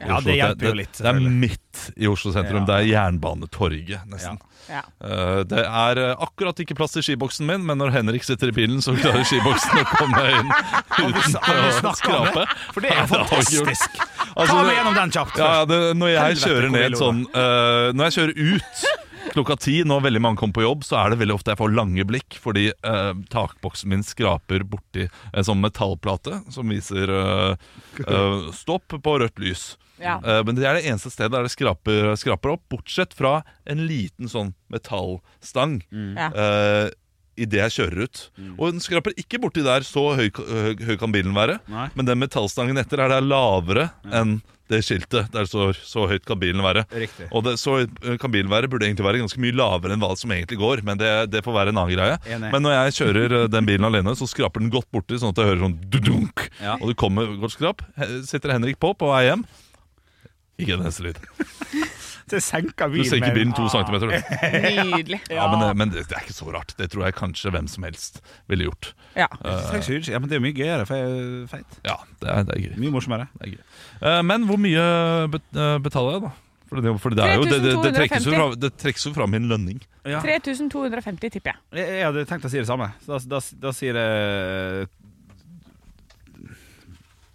[SPEAKER 3] Ja, det hjelper jo litt,
[SPEAKER 2] Det, det er
[SPEAKER 3] selvfølgelig.
[SPEAKER 2] midt i Oslo sentrum.
[SPEAKER 3] Ja.
[SPEAKER 2] Det er Jernbanetorget, nesten.
[SPEAKER 1] Ja.
[SPEAKER 2] Eh, det er eh, akkurat ikke plass til skiboksen min, men når Henrik sitter i bilen, så klarer skiboksen å komme inn uten å
[SPEAKER 3] snakker om
[SPEAKER 2] skrape.
[SPEAKER 3] For det er
[SPEAKER 2] det har vi gjort.
[SPEAKER 3] fantastisk! Ta
[SPEAKER 2] Altså,
[SPEAKER 3] meg gjennom den kjapt.
[SPEAKER 2] ja, ja, det, når jeg
[SPEAKER 3] Helvete,
[SPEAKER 2] kjører
[SPEAKER 3] hvor
[SPEAKER 2] ned
[SPEAKER 3] ille
[SPEAKER 2] sånn eh, Når jeg kjører ut klokka ti, når veldig mange kommer på jobb, så er det veldig ofte jeg får lange blikk fordi eh, takboksen min skraper borti en sånn metallplate som viser eh, eh, stopp på rødt lys.
[SPEAKER 1] Ja.
[SPEAKER 2] Eh, men det er det eneste stedet der det skraper, skraper opp, bortsett fra en liten sånn metallstang.
[SPEAKER 1] Ja.
[SPEAKER 2] eh, i Idet jeg kjører ut. Og den skraper ikke borti der, så høy, høy, høy kan bilen være.
[SPEAKER 3] Nei.
[SPEAKER 2] Men den metallstangen etter er der lavere enn det skiltet. Der står 'så høyt kan bilen være'.
[SPEAKER 3] Riktig.
[SPEAKER 2] Og det, 'så høyt eh, kan bilen være' burde egentlig være ganske mye lavere enn hva som egentlig går. Men det, det får være en annen greie.
[SPEAKER 3] Enig.
[SPEAKER 2] Men når jeg kjører eh, den bilen alene, så skraper den godt borti, sånn at jeg hører sånn dudunk.
[SPEAKER 3] Ja.
[SPEAKER 2] Og det kommer godt skrap. He- Sitter Henrik på på vei hjem. Ikke en eneste lyd.
[SPEAKER 3] Det senker
[SPEAKER 2] Du
[SPEAKER 3] bilen.
[SPEAKER 2] senker
[SPEAKER 3] med-
[SPEAKER 2] bilen to centimeter. du.
[SPEAKER 3] Ah.
[SPEAKER 1] Nydelig.
[SPEAKER 2] Ja, men, det- men det, det er ikke så rart. Det tror jeg kanskje hvem som helst ville gjort.
[SPEAKER 1] Ja.
[SPEAKER 3] Takk, Sjur. Ja, men det er jo mye gøyere, for jeg er feit.
[SPEAKER 2] Ja, det er, det er gøy.
[SPEAKER 3] Mye morsommere.
[SPEAKER 2] Det er gøy. Eh, Men hvor mye bet- eh, betaler jeg, da? For det, for det, er jo, det, det, det, trekkes jo fra, det trekkes jo fra min lønning.
[SPEAKER 1] 3250, tipper jeg.
[SPEAKER 3] Jeg, jeg hadde tenkt å si det samme. Så Da, da, da sier jeg eh,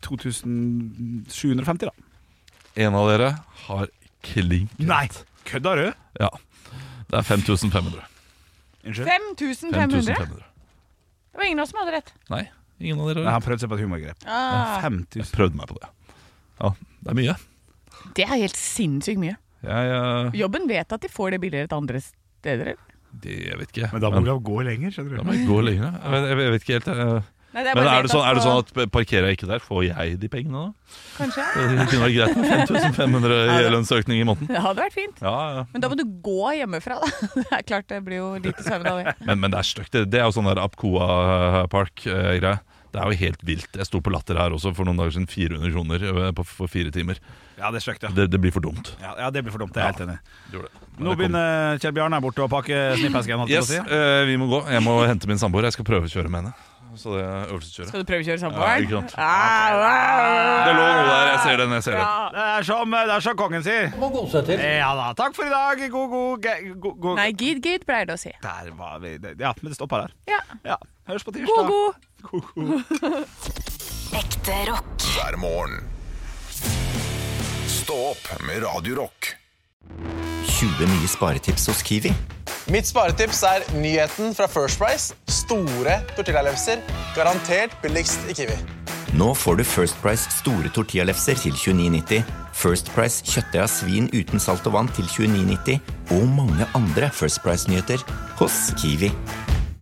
[SPEAKER 3] 2750, da.
[SPEAKER 2] En av dere har klinket.
[SPEAKER 3] kødder du?
[SPEAKER 2] Ja. Det er 5500.
[SPEAKER 1] 5500?
[SPEAKER 2] 5500.
[SPEAKER 1] Det var ingen av oss som hadde rett.
[SPEAKER 2] Nei, ingen av
[SPEAKER 3] Nei,
[SPEAKER 2] dere
[SPEAKER 3] han prøvde seg på et humorgrep.
[SPEAKER 1] Ah,
[SPEAKER 3] 5000
[SPEAKER 2] prøvde meg på det. Ja, det er mye.
[SPEAKER 1] det er helt sinnssykt mye.
[SPEAKER 2] Jeg, eh,
[SPEAKER 1] Jobben vet at de får det billigere til andre steder, eller?
[SPEAKER 2] det, jeg vet ikke.
[SPEAKER 3] du gå lenger, skjønner
[SPEAKER 2] da må jeg gå lenger. da. Jeg, vet- jeg vet ikke helt. eh.
[SPEAKER 1] Nei, det
[SPEAKER 2] Men
[SPEAKER 1] bare
[SPEAKER 2] er det,
[SPEAKER 1] vet
[SPEAKER 2] sånn, er det sånn
[SPEAKER 1] på-
[SPEAKER 2] at parkerer jeg ikke der, får jeg de pengene da?
[SPEAKER 1] Kanskje?
[SPEAKER 2] Det kunne vært greit med 5500 i
[SPEAKER 1] Ja,
[SPEAKER 2] lønnsøkning i måneden.
[SPEAKER 1] Det hadde vært fint.
[SPEAKER 2] Ja, ja.
[SPEAKER 1] Men da må du gå hjemmefra, da. Det er klart det blir jo lite søvn av det.
[SPEAKER 2] Men, men det er stygt. Det, det er jo sånn der Apcoa Park-greie. Det er jo helt vilt. Jeg sto på Latter her også for noen dager siden. 400 kroner eh, på, for fire timer.
[SPEAKER 3] Ja, det er stygt, ja.
[SPEAKER 2] Det, det blir for dumt.
[SPEAKER 3] ja. Ja, det blir for dumt. Det er jeg helt enig i.
[SPEAKER 2] Men
[SPEAKER 3] Nå
[SPEAKER 2] det kom-
[SPEAKER 3] begynner eh, Kjell Bjarne her borte å pakke snippesken. holdt jeg
[SPEAKER 2] Yes,
[SPEAKER 3] på å si.
[SPEAKER 2] eh, vi må gå. Jeg må hente min samboer. Jeg skal prøvekjøre med henne. Så det er øvelseskjøret.
[SPEAKER 1] Skal du prøvekjøre
[SPEAKER 2] Ja, ikke
[SPEAKER 1] samboeren?
[SPEAKER 2] sant. Det
[SPEAKER 1] Ah,
[SPEAKER 2] lå noe der. Jeg ser den. jeg ser den
[SPEAKER 1] ah.
[SPEAKER 3] Det er som, eh, det er som kongen sier.
[SPEAKER 8] Må gode seg til.
[SPEAKER 3] Ja da. Takk for i dag. God, god, ge- god, god.
[SPEAKER 1] Nei, gid, gid, pleier det å si.
[SPEAKER 3] Der var vi. det- Ja, men det stopper der.
[SPEAKER 1] Ja.
[SPEAKER 3] Ja. Høres på tirsdag.
[SPEAKER 1] God, god.
[SPEAKER 5] Ekte rock.
[SPEAKER 4] hver morgen. Stå opp med Radio Rock.
[SPEAKER 9] 20 nye sparetips hos Kiwi.
[SPEAKER 6] Mitt sparetips er nyheten fra First Price. Store tortillalefser. Garantert billigst i Kiwi.
[SPEAKER 9] Nå får du First Price store tortillalefser til 29,90, First Price kjøttdeig av svin uten salt og vann til 29,90 og mange andre First Price-nyheter hos Kiwi.